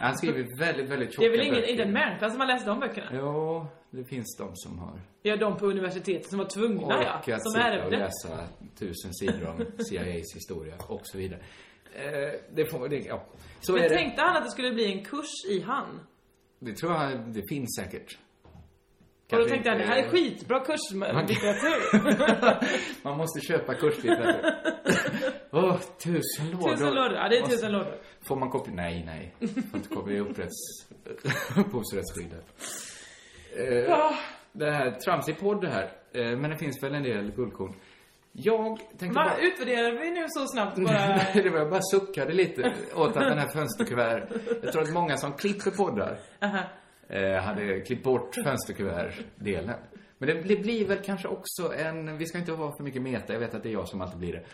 Han skriver väldigt, väldigt
Det
tjocka
är väl ingen,
böcker.
inte en människa som har läst de böckerna?
Jo, det finns de som har
Ja, de på universitetet som var tvungna ja.
orkat
Som
sitta och
ärvde.
läsa tusen sidor om CIAs historia och så vidare. Eh, det får, det, ja. Så är
Men
det.
tänkte han att det skulle bli en kurs i han?
Det tror jag, det finns säkert.
Och då
Kanske
tänkte han, det
inte-
här är skitbra kurs med litteratur.
Man måste köpa kurslitteratur. Åh, tusen lådor.
Tusen lådor. Ja, det är tusen lådor.
Får man kopiera? Nej, nej. Får inte kopiera upprätts... upphovsrättsskyddet. Eh, det här, tramsig podd det här. Eh, men det finns väl en del guldkorn. Jag tänkte
Va,
bara...
utvärderar vi nu så snabbt bara?
Nej, det var jag bara suckade lite åt att den här fönsterkuvert... Jag tror att många som klipper poddar eh, hade klippt bort fönsterkuvert-delen. Men det, det blir väl kanske också en... Vi ska inte ha för mycket meta, jag vet att det är jag som alltid blir det.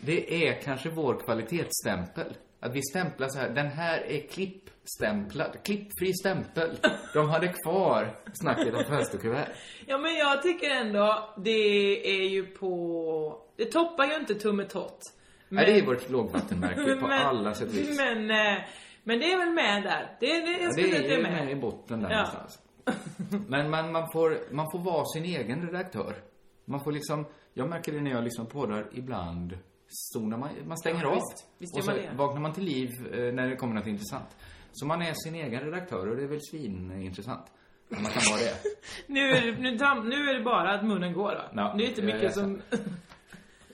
Det är kanske vår kvalitetsstämpel. Att vi stämplar så här, den här är klippstämplad, klippfri stämpel. De hade kvar snacket om fönsterkuvert.
Ja, men jag tycker ändå, det är ju på... Det toppar ju inte tummetott.
Nej, det är vårt lågvattenmärke på alla sätt och vis.
Men, eh, men det är väl med där. Det, det, jag skulle säga
det är
att det
ju
är
med i
med.
botten där
Ja.
någonstans.
Mm.
Men man, man, får, man får vara sin egen redaktör. Man får liksom, jag märker det när jag liksom poddar ibland, zonar man, man stänger
Ja,
av.
visst. Visst
och
gör
så
man det.
vaknar man till liv eh, när det kommer något intressant. Så man är sin egen redaktör och det är väl svinintressant. Om man kan vara det.
Nu är, det- nu, tam, nu är det bara att munnen går va?
Ja,
det är inte
jag är
mycket som...
ledsen.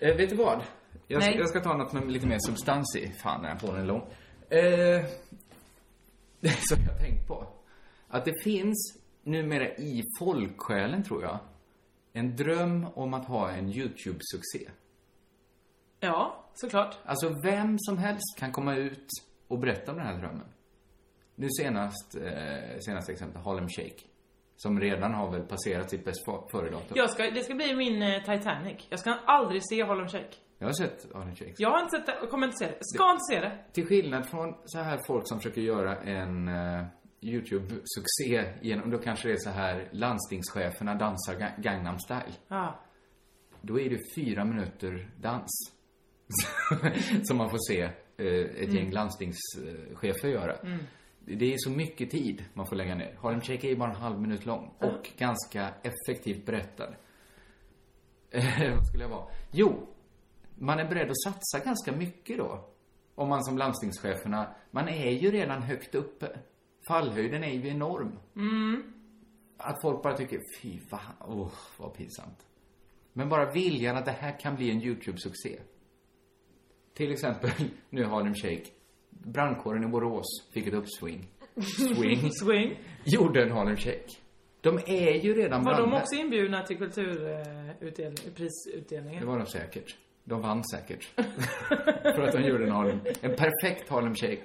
Eh, vet du vad? Jag ska,
Nej.
jag ska ta något med lite mer substans i. Fan, den här podden är lång. Eh, det är som jag har tänkt på. Att det finns numera i folksjälen, tror jag, en dröm om att ha en YouTube-succé.
Ja, såklart.
Alltså, vem som helst kan komma ut och berätta om den här drömmen. Nu senast, eh, senaste exemplet, Harlem Shake. Som redan har väl passerat sitt bäst före-datum.
Jag ska, det ska bli min eh, Titanic. Jag ska aldrig se Harlem Shake.
Jag har sett Harlem Shake.
Jag har inte sett det och kommer inte se det. Ska inte se det.
Till skillnad från så här folk som försöker göra en eh, YouTube-succé genom, då kanske det är så här landstingscheferna dansar Ga- Gangnam style.
Ja.
Då är det fyra minuter dans. som man får se eh, ett gäng landstingschefer göra. Det är så mycket tid man får lägga ner. Harlem Shake är bara en halv minut lång och ganska effektivt berättad. Eh, Vad skulle jag vara? Jo, man är beredd att satsa ganska mycket då. Om man som landstingscheferna, man är ju redan högt uppe. Fallhöjden är ju enorm. att folk bara tycker, fy fan, åh, vad pinsamt. Men bara viljan att det här kan bli en YouTube-succé. Till exempel, nu har de shake. Brandkåren i Borås fick ett uppsving. Swing.
Swing.
Gjorde en Harlem Shake. De är ju redan
Var de
brandmän.
också inbjudna till kulturprisutdelningen?
Det var de säkert. De vann säkert. För att de gjorde en Harlem. En perfekt Harlem Shake.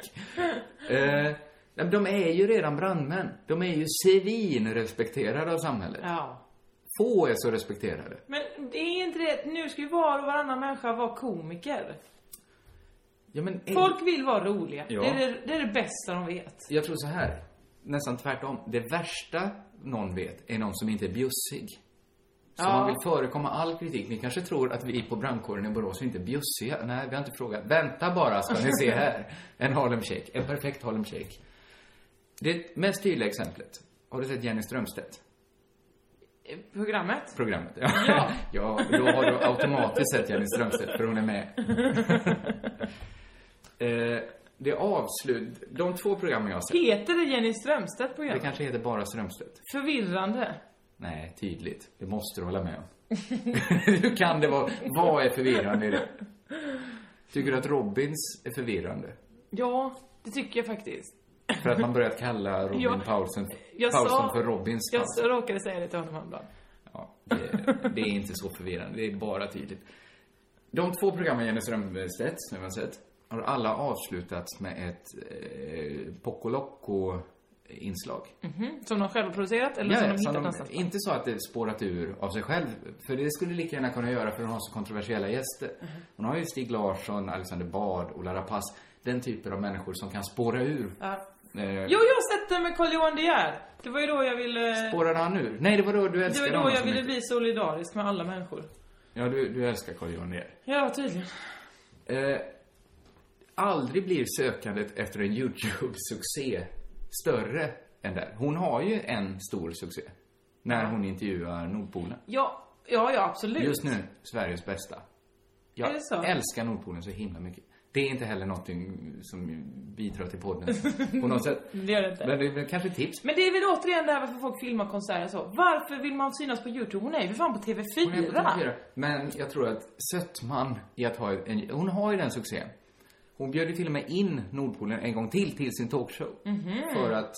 Eh, nej, de är ju redan brandmän. De är ju svinrespekterade av samhället.
Ja.
Få är så respekterade.
Men det är inte det, nu ska ju var och varannan människa vara komiker.
Ja, men en-
Folk vill vara roliga.
Eh. Ja.
Det, är det, det är det bästa de vet.
Jag tror så här. Nästan tvärtom. Det värsta någon vet är någon som inte är bjussig. Så
Ja.
man vill förekomma all kritik. Ni kanske tror att vi på brandkåren i Borås är inte bjussiga. Nej, vi har inte frågat. Vänta bara ska ni se här. En Harlem Shake. En perfekt Harlem Shake. Det mest tydliga exemplet. Har du sett Jenny Strömstedt?
Eh, Programmet.
Programmet? Ja. ja. då har du automatiskt sett Jenny Strömstedt för hon är med. eh, det avslut... De två programmen jag har sett.
Heter det Jenny Strömstedt
Det
programmet?
kanske heter bara Strömstedt.
Förvirrande.
Nej, tydligt. Det måste du hålla med om. Hur kan det vara? Vad är förvirrande i det? Tycker du att Robins är förvirrande?
Ja, det tycker jag faktiskt.
För att man börjat kalla Robin
Ja,
Paulsen,
Jag
Paulsen
sa,
för Robins
Jag
Paulsen.
s- råkade säga det till honom häromdagen.
Ja, det, det är inte så förvirrande. Det är bara tydligt. De två programmen Jenny Strömstedt, som jag har sett, har alla avslutats med ett eh, Poco Loco-inslag.
Mhm. Som de själva producerat eller som de hittat någonstans?
inte så att det spårat ur av sig själv. För det skulle lika gärna kunna göra för hon har så kontroversiella gäster.
Mm-hmm.
Hon har ju Stig Larsson, Alexander Bard, Ola Rapace. Den typen av människor som kan spåra ur.
Ja.
Eh,
Jo, jag har sett det med Carl-Johan De Geer. Det var ju då jag ville...
Spårade han ur? Nej, det var då du
Det
älskade
var då
honom
jag
så
ville
mycket.
bli solidarisk med alla människor.
Ja, du, du älskar Carl Johan Ner.
Ja, tydligen.
Eh, aldrig blir sökandet efter en YouTube-succé större än där. Hon har ju en stor succé. När hon intervjuar Nordpolen.
Ja, ja, ja absolut.
Just nu, Sveriges bästa. Jag
Är det så?
älskar Nordpolen så himla mycket. Det är inte heller någonting som bidrar till podden på något sätt.
Det gör det inte.
Men det är väl kanske ett tips.
Men det är väl återigen det här varför folk filmar konserter så. Varför vill man synas på Youtube? Hon är ju för fan på TV4.
Hon är på TV4. Men jag tror att Sötman i att ha en... Hon har ju den succén. Hon bjöd ju till och med in Nordpolen en gång till till sin talkshow. För att,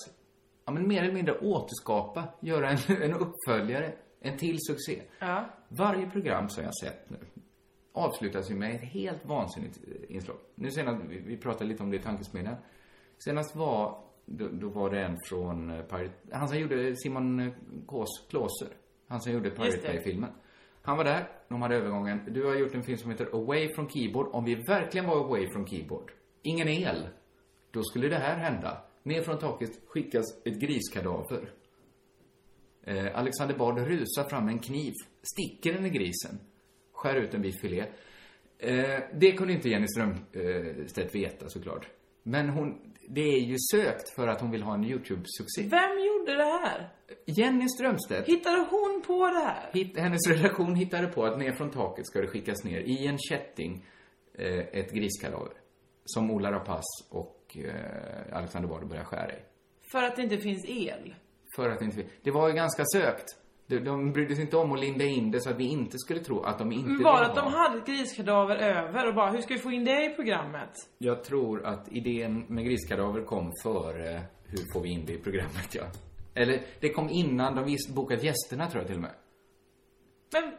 ja men mer eller mindre återskapa, göra en, en uppföljare, en till succé.
Ja.
Varje program som jag sett nu avslutas ju med ett helt vansinnigt eh, inslag. Nu senast, vi- vi pratade lite om det i tankesmedjan. Senast var, då, då var det en från eh, Pirate, han som gjorde Simon eh, Kås, Klåser. Han som gjorde Pirate
Just det.
Bay-filmen. Han var där, de hade övergången. Du har gjort en film som heter Away from Keyboard. Om vi verkligen var away from keyboard, ingen el, då skulle det här hända. Ner från taket skickas ett griskadaver. Eh, Alexander Bard rusar fram med en kniv, sticker den i grisen, skär ut en bit filé. Eh, det kunde inte Jenny Strömstedt veta såklart. Men hon, det är ju sökt för att hon vill ha en YouTube-succé.
Vem gjorde det här?
Jenny Strömstedt,
Hittade hon på det här?
hitt, hennes redaktion hittade på att ner från taket ska det skickas ner i en kätting eh, ett griskadaver. Som Ola Rapace och eh, Alexander Bard börjar skära i.
För att det inte finns el.
För att inte... Det var ju ganska sökt. De, de brydde sig inte om att linda in det så att vi inte skulle tro att de inte
Men
vill
bara att de
ha-
hade ett griskadaver över och bara, hur ska vi få in det i programmet?
Jag tror att idén med griskadaver kom före hur får vi in det i programmet, ja. Eller det kom innan de visst bokat gästerna tror jag till och med.
Men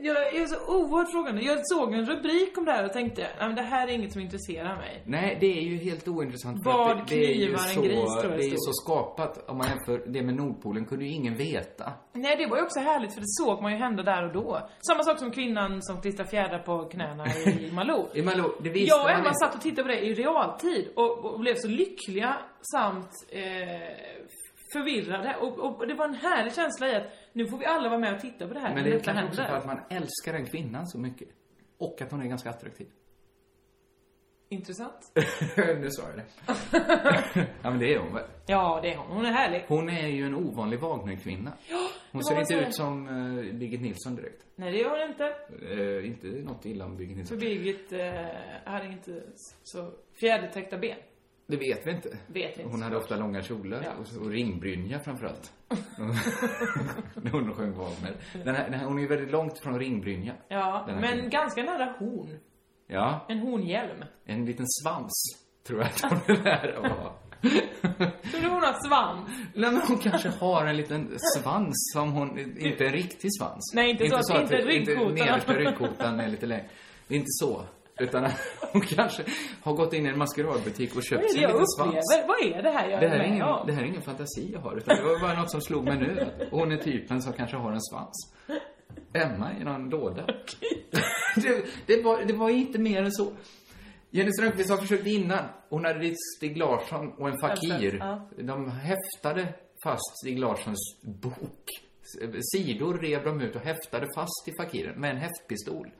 jag är så oerhört frågande. Jag såg en rubrik om det här och tänkte, "Nej, men det här är inget som intresserar mig.
Nej, det är ju helt ointressant. för
Vad
att det, det är ju
knivar en
så,
gris, tror jag
Det är ju
det
så
stod.
skapat. Om man jämför det med Nordpolen kunde ju ingen veta.
Nej, det var ju också härligt för det såg man ju hända där och då. Samma sak som kvinnan som klistrar fjädrar på knäna i Malou.
I Malou, det visste
Jag och
man
Emma
inte.
satt och tittade på det i realtid och, och blev så lyckliga samt eh, förvirrade. Och, och det var en härlig känsla i att nu får vi alla vara med och titta på det här.
Men
när
det är
detta
kanske också
händer.
för att man älskar den kvinnan så mycket. Och att hon är ganska attraktiv.
Intressant.
nu sa jag det. ja, men det är hon väl.
Ja, det är hon. Hon är härlig.
Hon är ju en ovanlig Wagnerkvinna. Hon
vad
ser
man
inte
säger.
ut som eh, Birgit Nilsson direkt.
Nej, det gör hon inte.
Eh, inte något illa om Birgit
För
Nilsson.
Birgit eh, hade inte så fjädertäckta ben.
Det vet vi inte.
Vet vi inte
Hon hade
såklart.
ofta långa kjolar
Ja.
och, och ringbrynja framförallt. När hon sjöng Wagner. Den här, den här, hon är ju väldigt långt från ringbrynja.
Ja,
Den här
men
kvinnan.
ganska nära horn.
Ja,
En hornhjälm.
en liten svans tror jag att hon är där och har.
Tror du hon har svans?
Nej, men hon kanske har en liten svans som hon... Inte en riktig svans.
Nej, inte så att- inte ryggkotan.
Inte nedersta ryggkotan är lite längre. Det är inte så. Utan att hon kanske har gått in i en maskeradbutik och
Vad
köpt
är det
sig en
jag
liten svans.
upplever? Vad är det här jag
Det här, är
med
ingen,
om?
det här är ingen fantasi jag har, utan det var bara något som slog mig nu. att Hon är typen som kanske har en svans. Emma i någon låda. Det, det, var, det var inte mer än så. Jenny Strömquist har försökt innan. Hon hade dit Stig Larsson och en fakir.
Alltså, Ja.
De häftade fast Stig Larssons bok. S- eh, Sidor rev de ut och häftade fast i fakiren med en häftpistol.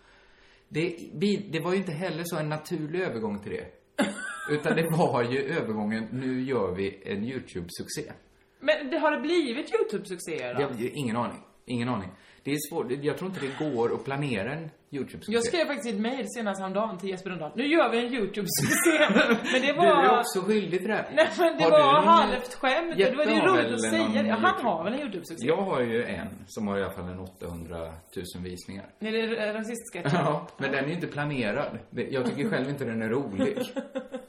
Det, bi- det var ju inte heller så en naturlig övergång till det. Utan det var ju övergången, nu gör vi en YouTube-succé.
Men det har det blivit YouTube-succéer
Det
då?
har vi ju ingen aning. Ingen aning. Det är svårt. Jag tror inte det går att planera en YouTube-succé.
Jag skrev faktiskt ett mejl senast häromdagen till Jesper Lundahl. Nu gör vi en YouTube-succé. Men det
Du är
var...
också skyldig till det här.
Nej men det
Har du
var
någon-
halvt skämt. Det var det
Jeppe
är
har
roligt
väl
att
någon
säga det. Han
YouTube-
har väl en YouTube-succé?
Jag har ju en som har i alla fall en 800 000 visningar.
Är det eh, rasistsketchen?
Ja, men den är ju inte planerad. Det- Jag tycker själv inte den är rolig.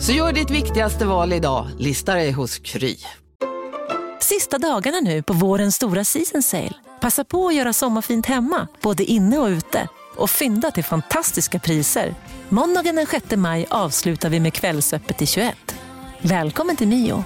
Så gör ditt viktigaste val idag, listar dig hos Kry.
Sista dagarna nu på vårens stora season sale. Passa på att göra sommarfint hemma, både inne och ute. Och fynda till fantastiska priser. Måndagen den 6 maj avslutar vi med Kvällsöppet i 21.
Välkommen till Mio.